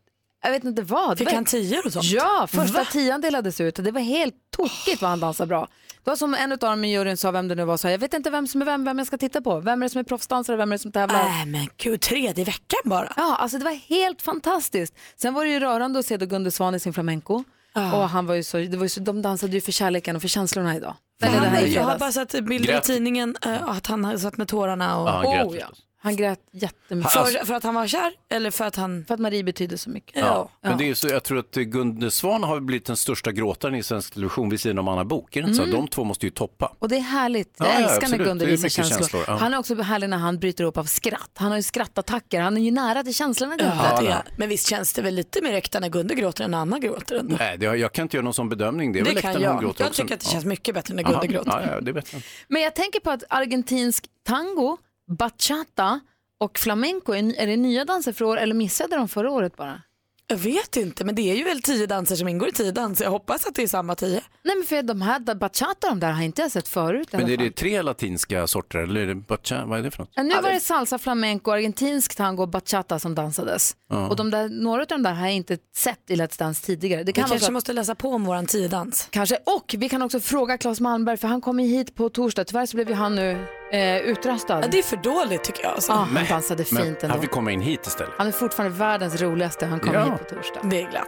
[SPEAKER 1] Jag vet inte vad.
[SPEAKER 2] Fick
[SPEAKER 1] Det var-
[SPEAKER 2] han tior och sånt?
[SPEAKER 1] Ja, första
[SPEAKER 2] Va?
[SPEAKER 1] tian delades ut. Det var helt tokigt vad han dansade bra. Det var som en av dem i juryn sa, vem det nu var, sa jag vet inte vem som är vem, vem jag ska titta på. Vem är det som är proffsdansare, vem är det som tävlar?
[SPEAKER 2] Nej men gud, tredje veckan bara.
[SPEAKER 1] Ja, alltså det var helt fantastiskt. Sen var det ju rörande att se då Gunde Svan i sin flamenco.
[SPEAKER 2] Ja.
[SPEAKER 1] Och han var ju så, det var ju så, de dansade ju för kärleken och för känslorna idag.
[SPEAKER 2] Fan,
[SPEAKER 1] det här i
[SPEAKER 2] jag har
[SPEAKER 1] fredags.
[SPEAKER 2] bara sett bilder
[SPEAKER 1] Grät.
[SPEAKER 2] i tidningen eh, att han har satt med tårarna. Och...
[SPEAKER 1] Ja, han grät Oh, ja. Han grät jättemycket.
[SPEAKER 2] För,
[SPEAKER 3] Alltså-
[SPEAKER 2] för att han var kär eller för att han...
[SPEAKER 1] För att Marie betyder så mycket.
[SPEAKER 3] Ja. Men det är ju så, jag tror att Gunde Svan har blivit den största gråtaren i svensk television vid sidan om Anna Book. Är det inte
[SPEAKER 1] Mm.
[SPEAKER 3] så? De två måste ju toppa.
[SPEAKER 1] Och det är härligt. Jag
[SPEAKER 3] Ja, ja,
[SPEAKER 1] älskar när
[SPEAKER 3] absolut.
[SPEAKER 1] Gunde
[SPEAKER 3] Det är
[SPEAKER 1] visar
[SPEAKER 3] mycket
[SPEAKER 1] känslor.
[SPEAKER 3] känslor, ja.
[SPEAKER 1] Han är också härlig när han bryter upp av skratt. Han har ju skrattattacker. Han är ju nära till känslorna. Gunde.
[SPEAKER 2] Ja, det är. Men visst känns det väl lite mer äkta när Gunde gråter än Anna gråter? Ändå.
[SPEAKER 3] Nej, det, har- jag kan inte göra någon sån bedömning. Det är väl
[SPEAKER 2] Det kan
[SPEAKER 3] läktaren hon
[SPEAKER 2] jag.
[SPEAKER 3] gråter
[SPEAKER 2] Jag
[SPEAKER 3] också.
[SPEAKER 2] tycker att det känns
[SPEAKER 3] Ja.
[SPEAKER 2] mycket bättre när Gunde
[SPEAKER 3] Aha. Ja,
[SPEAKER 2] gråter.
[SPEAKER 3] ja, det är bättre.
[SPEAKER 1] Men jag tänker på att argentinsk tango, bachata och flamenco, är ny- är det nya danser för år eller missade de förra året bara?
[SPEAKER 2] Jag vet inte, men det är ju väl tio danser som ingår i tio danser. Jag hoppas att det är samma tio.
[SPEAKER 1] Nej men för de här, da- bachata de där har inte jag sett förut. i
[SPEAKER 3] Men
[SPEAKER 1] alla
[SPEAKER 3] är
[SPEAKER 1] fall.
[SPEAKER 3] det tre latinska sorter eller är det bacha, vad är det för något?
[SPEAKER 1] Ja, nu var det salsa, flamenco, argentinsk tango och bachata som dansades.
[SPEAKER 3] Ja.
[SPEAKER 1] Och de där, några av de där har jag inte sett i Let's Dance tidigare. Det
[SPEAKER 2] Vi
[SPEAKER 1] kan vara
[SPEAKER 2] kanske
[SPEAKER 1] så att-
[SPEAKER 2] måste läsa på om våran tiodans.
[SPEAKER 1] Kanske. Och vi kan också fråga Claes Malmberg, för han kommer ju hit på torsdag. Tyvärr så blev ju han nu eh, utröstad.
[SPEAKER 2] Ja, det är för dåligt tycker jag. Alltså.
[SPEAKER 1] Ah, han dansade
[SPEAKER 3] men
[SPEAKER 1] fint ändå.
[SPEAKER 3] Han fick komma in hit istället.
[SPEAKER 1] Han är fortfarande världens roligaste. Han kommer
[SPEAKER 3] Ja.
[SPEAKER 1] hit på torsdag.
[SPEAKER 2] Det är glatt.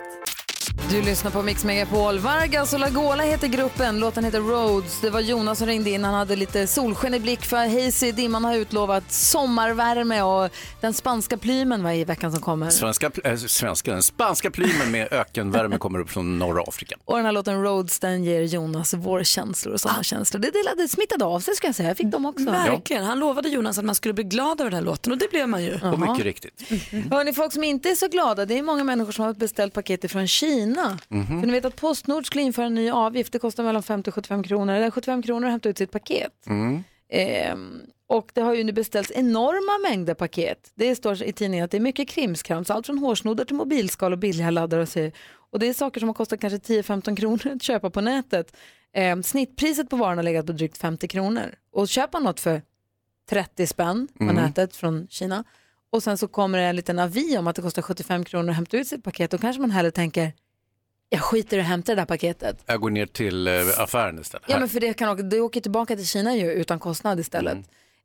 [SPEAKER 1] Du lyssnar på Mix Megapol. Vargas och Lagola heter gruppen. Låten heter Roads. Det var Jonas som ringde in. Han hade lite solsken i blick för hazy dimman har utlovat sommarvärme och den spanska plymen var i veckan som kommer.
[SPEAKER 3] Svenska, pl- äh, svenska, den spanska plymen med ökenvärme kommer upp från norra Afrika.
[SPEAKER 1] Och den här låten Roads den ger Jonas vårkänslor och sådana känslor. Det delade, smittade av sig ska jag säga. Jag fick dem också.
[SPEAKER 2] Verkligen. Han lovade Jonas att man skulle bli glad över den här låten och det blev man ju.
[SPEAKER 3] Och mycket riktigt.
[SPEAKER 2] Mm.
[SPEAKER 1] Hörni, folk som inte är så glada, det är många människor som har beställt paket från Kina.
[SPEAKER 2] Mhm.
[SPEAKER 1] För ni vet att Postnord skulle införa en ny avgift, det kostar mellan 50 och 75 kronor. Det är 75 kronor att hämta ut sitt paket.
[SPEAKER 21] Mm.
[SPEAKER 1] Ehm, och det har ju nu beställts enorma mängder paket. Det står i tidningen att det är mycket krimskrams, allt från hårsnoddar till mobilskal och billiga laddare och så. Och det är saker som har kostat kanske 10-15 kronor att köpa på nätet. Ehm, snittpriset på varan har legat på drygt 50 kronor. Och köpa något för 30 spänn på
[SPEAKER 2] Mm.
[SPEAKER 1] nätet från Kina och sen så kommer det en liten avi om att det kostar 75 kronor att hämta ut sitt paket. Då kanske man hellre tänker, jag skiter i att hämta det där paketet.
[SPEAKER 3] Jag går ner till eh, affären istället.
[SPEAKER 1] Ja, men för det, kan åka, det åker tillbaka till Kina ju utan kostnad istället.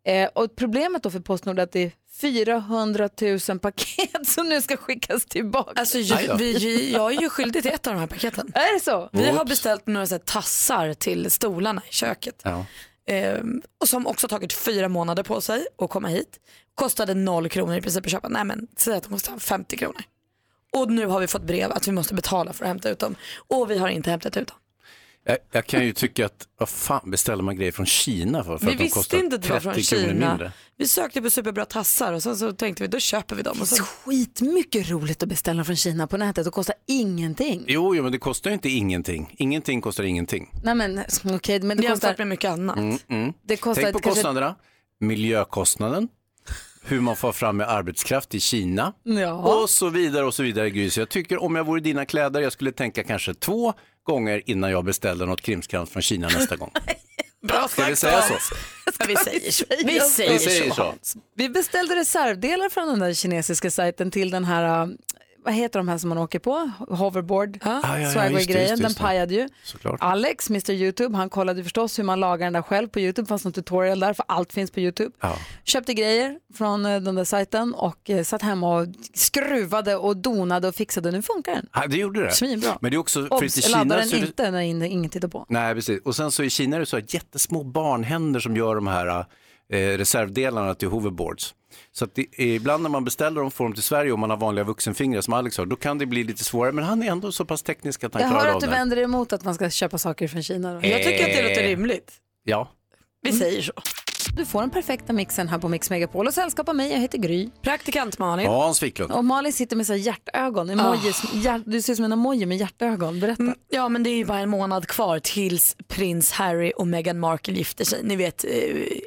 [SPEAKER 1] Eh, och problemet då för Postnord är att det är 400 000 [laughs] paket som nu ska skickas tillbaka.
[SPEAKER 2] Alltså, ju, vi, vi, jag är ju skyldig till ett av de här paketen.
[SPEAKER 1] Är det så?
[SPEAKER 2] Vi har
[SPEAKER 1] Oops.
[SPEAKER 2] beställt några så här, tassar till stolarna i köket.
[SPEAKER 3] Ja.
[SPEAKER 2] Ehm, och som också tagit fyra månader på sig att komma hit. Kostade noll kronor i princip att köpa. Nej men säg att de kostar 50 kronor. Och nu har vi fått brev att vi måste betala för att hämta ut dem. Och vi har inte hämtat ut dem.
[SPEAKER 3] Jag, jag kan ju tycka att, vad fan beställer man grejer från Kina för? för
[SPEAKER 2] vi
[SPEAKER 3] att de
[SPEAKER 2] visste
[SPEAKER 3] kostar
[SPEAKER 2] inte att det var
[SPEAKER 3] 30
[SPEAKER 2] från
[SPEAKER 3] kronor
[SPEAKER 2] Kina.
[SPEAKER 3] mindre.
[SPEAKER 2] Vi sökte på superbra tassar och sen så tänkte vi då köper vi dem. Och sen...
[SPEAKER 1] Skitmycket roligt att beställa från Kina på nätet och kostar ingenting.
[SPEAKER 3] Jo, jo, men det kostar ju inte ingenting. Ingenting kostar ingenting.
[SPEAKER 1] Nej men okej, men det
[SPEAKER 2] Jämfört
[SPEAKER 1] kostar...
[SPEAKER 2] med mycket annat.
[SPEAKER 3] Mm, mm.
[SPEAKER 1] Det kostar
[SPEAKER 3] Tänk på
[SPEAKER 1] ett- kanske-
[SPEAKER 3] kostnaderna. Miljökostnaden, hur man får fram med arbetskraft i Kina
[SPEAKER 1] Ja.
[SPEAKER 3] och så vidare och så vidare. Gry. Så jag tycker om jag vore i dina kläder, jag skulle tänka kanske två gånger innan jag beställer något krimskrams från Kina nästa
[SPEAKER 1] [laughs]
[SPEAKER 3] gång.
[SPEAKER 2] Bra
[SPEAKER 3] Ska vi säga så?
[SPEAKER 2] Ja, vi säger så.
[SPEAKER 1] Vi säger
[SPEAKER 3] Vi säger så.
[SPEAKER 1] Vi beställde reservdelar från den där kinesiska sajten till den här äh, vad heter de här som man åker på? Hoverboard,
[SPEAKER 3] ja, ja, just det,
[SPEAKER 1] Swagway-grejen,
[SPEAKER 3] just det,
[SPEAKER 1] den
[SPEAKER 3] just det.
[SPEAKER 1] pajade ju.
[SPEAKER 3] Såklart.
[SPEAKER 1] Alex, Mr YouTube, han kollade förstås hur man lagar den där själv på YouTube, fanns någon tutorial där för allt finns på YouTube.
[SPEAKER 3] Ja.
[SPEAKER 1] Köpte grejer från eh, den där sajten och eh, satt hemma och skruvade och donade och fixade. Nu funkar den.
[SPEAKER 3] Ja, det gjorde det.
[SPEAKER 1] Svinbra.
[SPEAKER 3] Men det är också, för
[SPEAKER 1] Obs,
[SPEAKER 3] att i
[SPEAKER 1] jag laddar
[SPEAKER 3] Kina
[SPEAKER 1] den
[SPEAKER 3] så är det,
[SPEAKER 1] inte när in- ingen tittar på.
[SPEAKER 3] Nej, precis. Och sen så i Kina är det så här jättesmå barnhänder som gör de här eh, reservdelarna till hoverboards. Så att det, ibland när man beställer dem får dem till Sverige och man har vanliga vuxenfingrar som Alex har, då kan det bli lite svårare. Men han är ändå så pass teknisk att han
[SPEAKER 1] Jag
[SPEAKER 3] klarar
[SPEAKER 1] hör
[SPEAKER 3] av
[SPEAKER 1] att du
[SPEAKER 3] det.
[SPEAKER 1] vänder dig emot att man ska köpa saker från Kina. Då.
[SPEAKER 3] Jag tycker att det låter Eh.
[SPEAKER 1] rimligt.
[SPEAKER 3] Ja.
[SPEAKER 1] Vi säger så. Du får den perfekta mixen här på Mix Megapol och sällskap av mig, jag heter Gry.
[SPEAKER 2] Praktikant Malin.
[SPEAKER 3] Ja, Hans Wiklund.
[SPEAKER 1] Och Malin sitter med så här hjärtögon, emojis, hjär, du ser ut som en emoji med hjärtögon. Berätta.
[SPEAKER 2] Mm, Ja, men det är ju bara en månad kvar tills prins Harry och Meghan Markle gifter sig. Ni vet, eh,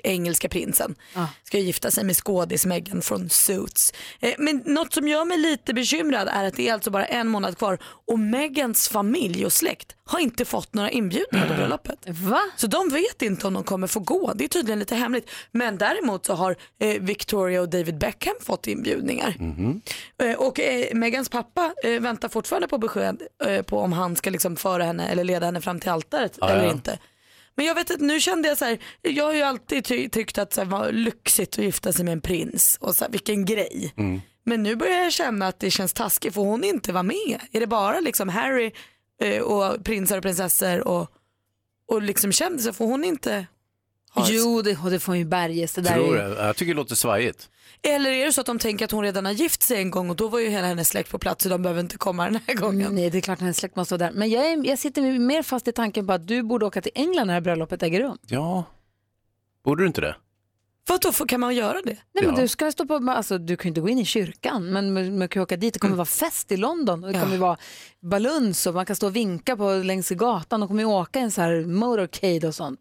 [SPEAKER 2] engelska prinsen ska ju gifta sig med skådis Meghan från Suits. Eh, men något som gör mig lite bekymrad är att det är alltså bara en månad kvar och Meghans familj och släkt har inte fått några inbjudningar till bröllopet.
[SPEAKER 1] Va?
[SPEAKER 2] Så de vet inte om de kommer få gå. Det är tydligen lite hemligt. Men däremot så har eh, Victoria och David Beckham fått inbjudningar.
[SPEAKER 22] Mhm.
[SPEAKER 2] Eh, Och eh, Megans pappa eh, väntar fortfarande på besked eh, på om han ska liksom föra henne eller leda henne fram till altaret
[SPEAKER 22] Ja,
[SPEAKER 2] eller
[SPEAKER 22] ja.
[SPEAKER 2] inte. Men jag vet att nu kände jag så här, jag har ju alltid ty- tyckt att det var lyxigt att gifta sig med en prins och så här, vilken grej.
[SPEAKER 22] Mm.
[SPEAKER 2] Men nu börjar jag känna att det känns taskigt för hon inte var med. Är det bara liksom Harry eh, och prinsar och prinsessor och, och liksom kändisar får hon inte ha
[SPEAKER 1] Jo, det, och det får ju berges. Det där
[SPEAKER 3] Tror
[SPEAKER 1] är ju...
[SPEAKER 3] jag. jag tycker det låter svajigt.
[SPEAKER 2] Eller är det så att de tänker att hon redan har gift sig en gång och då var ju hela hennes släkt på plats så de behöver inte komma den här gången.
[SPEAKER 1] Mm, Nej, det är klart att hennes släkt måste vara där. Men jag, är, jag sitter ju mer fast i tanken på att du borde åka till England när det här bröllopet äger rum.
[SPEAKER 3] Ja, borde du inte det?
[SPEAKER 2] Vad då kan man göra det?
[SPEAKER 1] Nej, men
[SPEAKER 3] Ja.
[SPEAKER 1] du ska stå på, alltså, du kan ju inte gå in i kyrkan, men man man kan ju åka dit. Det
[SPEAKER 3] Mm.
[SPEAKER 1] kommer vara fest i London och det kommer vara baluns och man kan stå och vinka på, längs gatan. De kommer ju åka i en så här motorcade och sånt.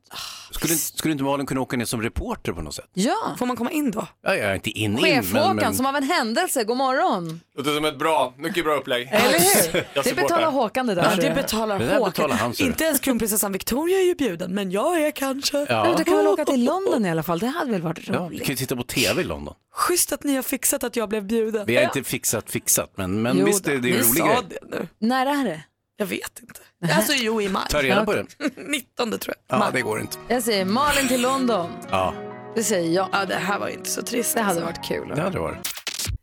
[SPEAKER 3] Skulle, skulle inte Malin kunna åka ner som reporter på något sätt?
[SPEAKER 1] Ja.
[SPEAKER 2] Får man komma in då?
[SPEAKER 3] Ja, jag är inte in, in
[SPEAKER 1] Chefhåkan som av en händelse, god morgon.
[SPEAKER 23] Låter som ett bra, mycket bra upplägg. Eller [laughs] hur?
[SPEAKER 1] Det betalar Håkan det där.
[SPEAKER 2] Ja,
[SPEAKER 1] tror
[SPEAKER 2] det
[SPEAKER 1] jag.
[SPEAKER 2] betalar
[SPEAKER 23] Det där
[SPEAKER 2] Håkan.
[SPEAKER 23] betalar han, ser du.
[SPEAKER 2] inte ens kronprinsessan Victoria är ju bjuden, men jag är kanske.
[SPEAKER 1] Nej, men Du kan väl åka till London i alla fall, det hade väl varit
[SPEAKER 3] Ja, vi
[SPEAKER 1] roligt.
[SPEAKER 3] kan ju titta på tv i London.
[SPEAKER 2] Schysst att ni har fixat att jag blev bjuden.
[SPEAKER 3] Vi har inte fixat fixat, men, men
[SPEAKER 2] Jo
[SPEAKER 3] visst är
[SPEAKER 2] då,
[SPEAKER 3] det en
[SPEAKER 2] ni
[SPEAKER 3] rolig
[SPEAKER 2] sa
[SPEAKER 3] grej.
[SPEAKER 2] det nu.
[SPEAKER 1] När är det?
[SPEAKER 2] Jag vet inte. Alltså jo, i maj.
[SPEAKER 3] Ta
[SPEAKER 2] [laughs]
[SPEAKER 3] reda på det.
[SPEAKER 2] 19 tror jag.
[SPEAKER 3] Ja, det går inte.
[SPEAKER 1] Jag säger Malin till London.
[SPEAKER 3] Ja,
[SPEAKER 1] Det säger jag.
[SPEAKER 2] Ja, det här var inte så trist.
[SPEAKER 1] Det hade varit kul.
[SPEAKER 3] det hade det varit.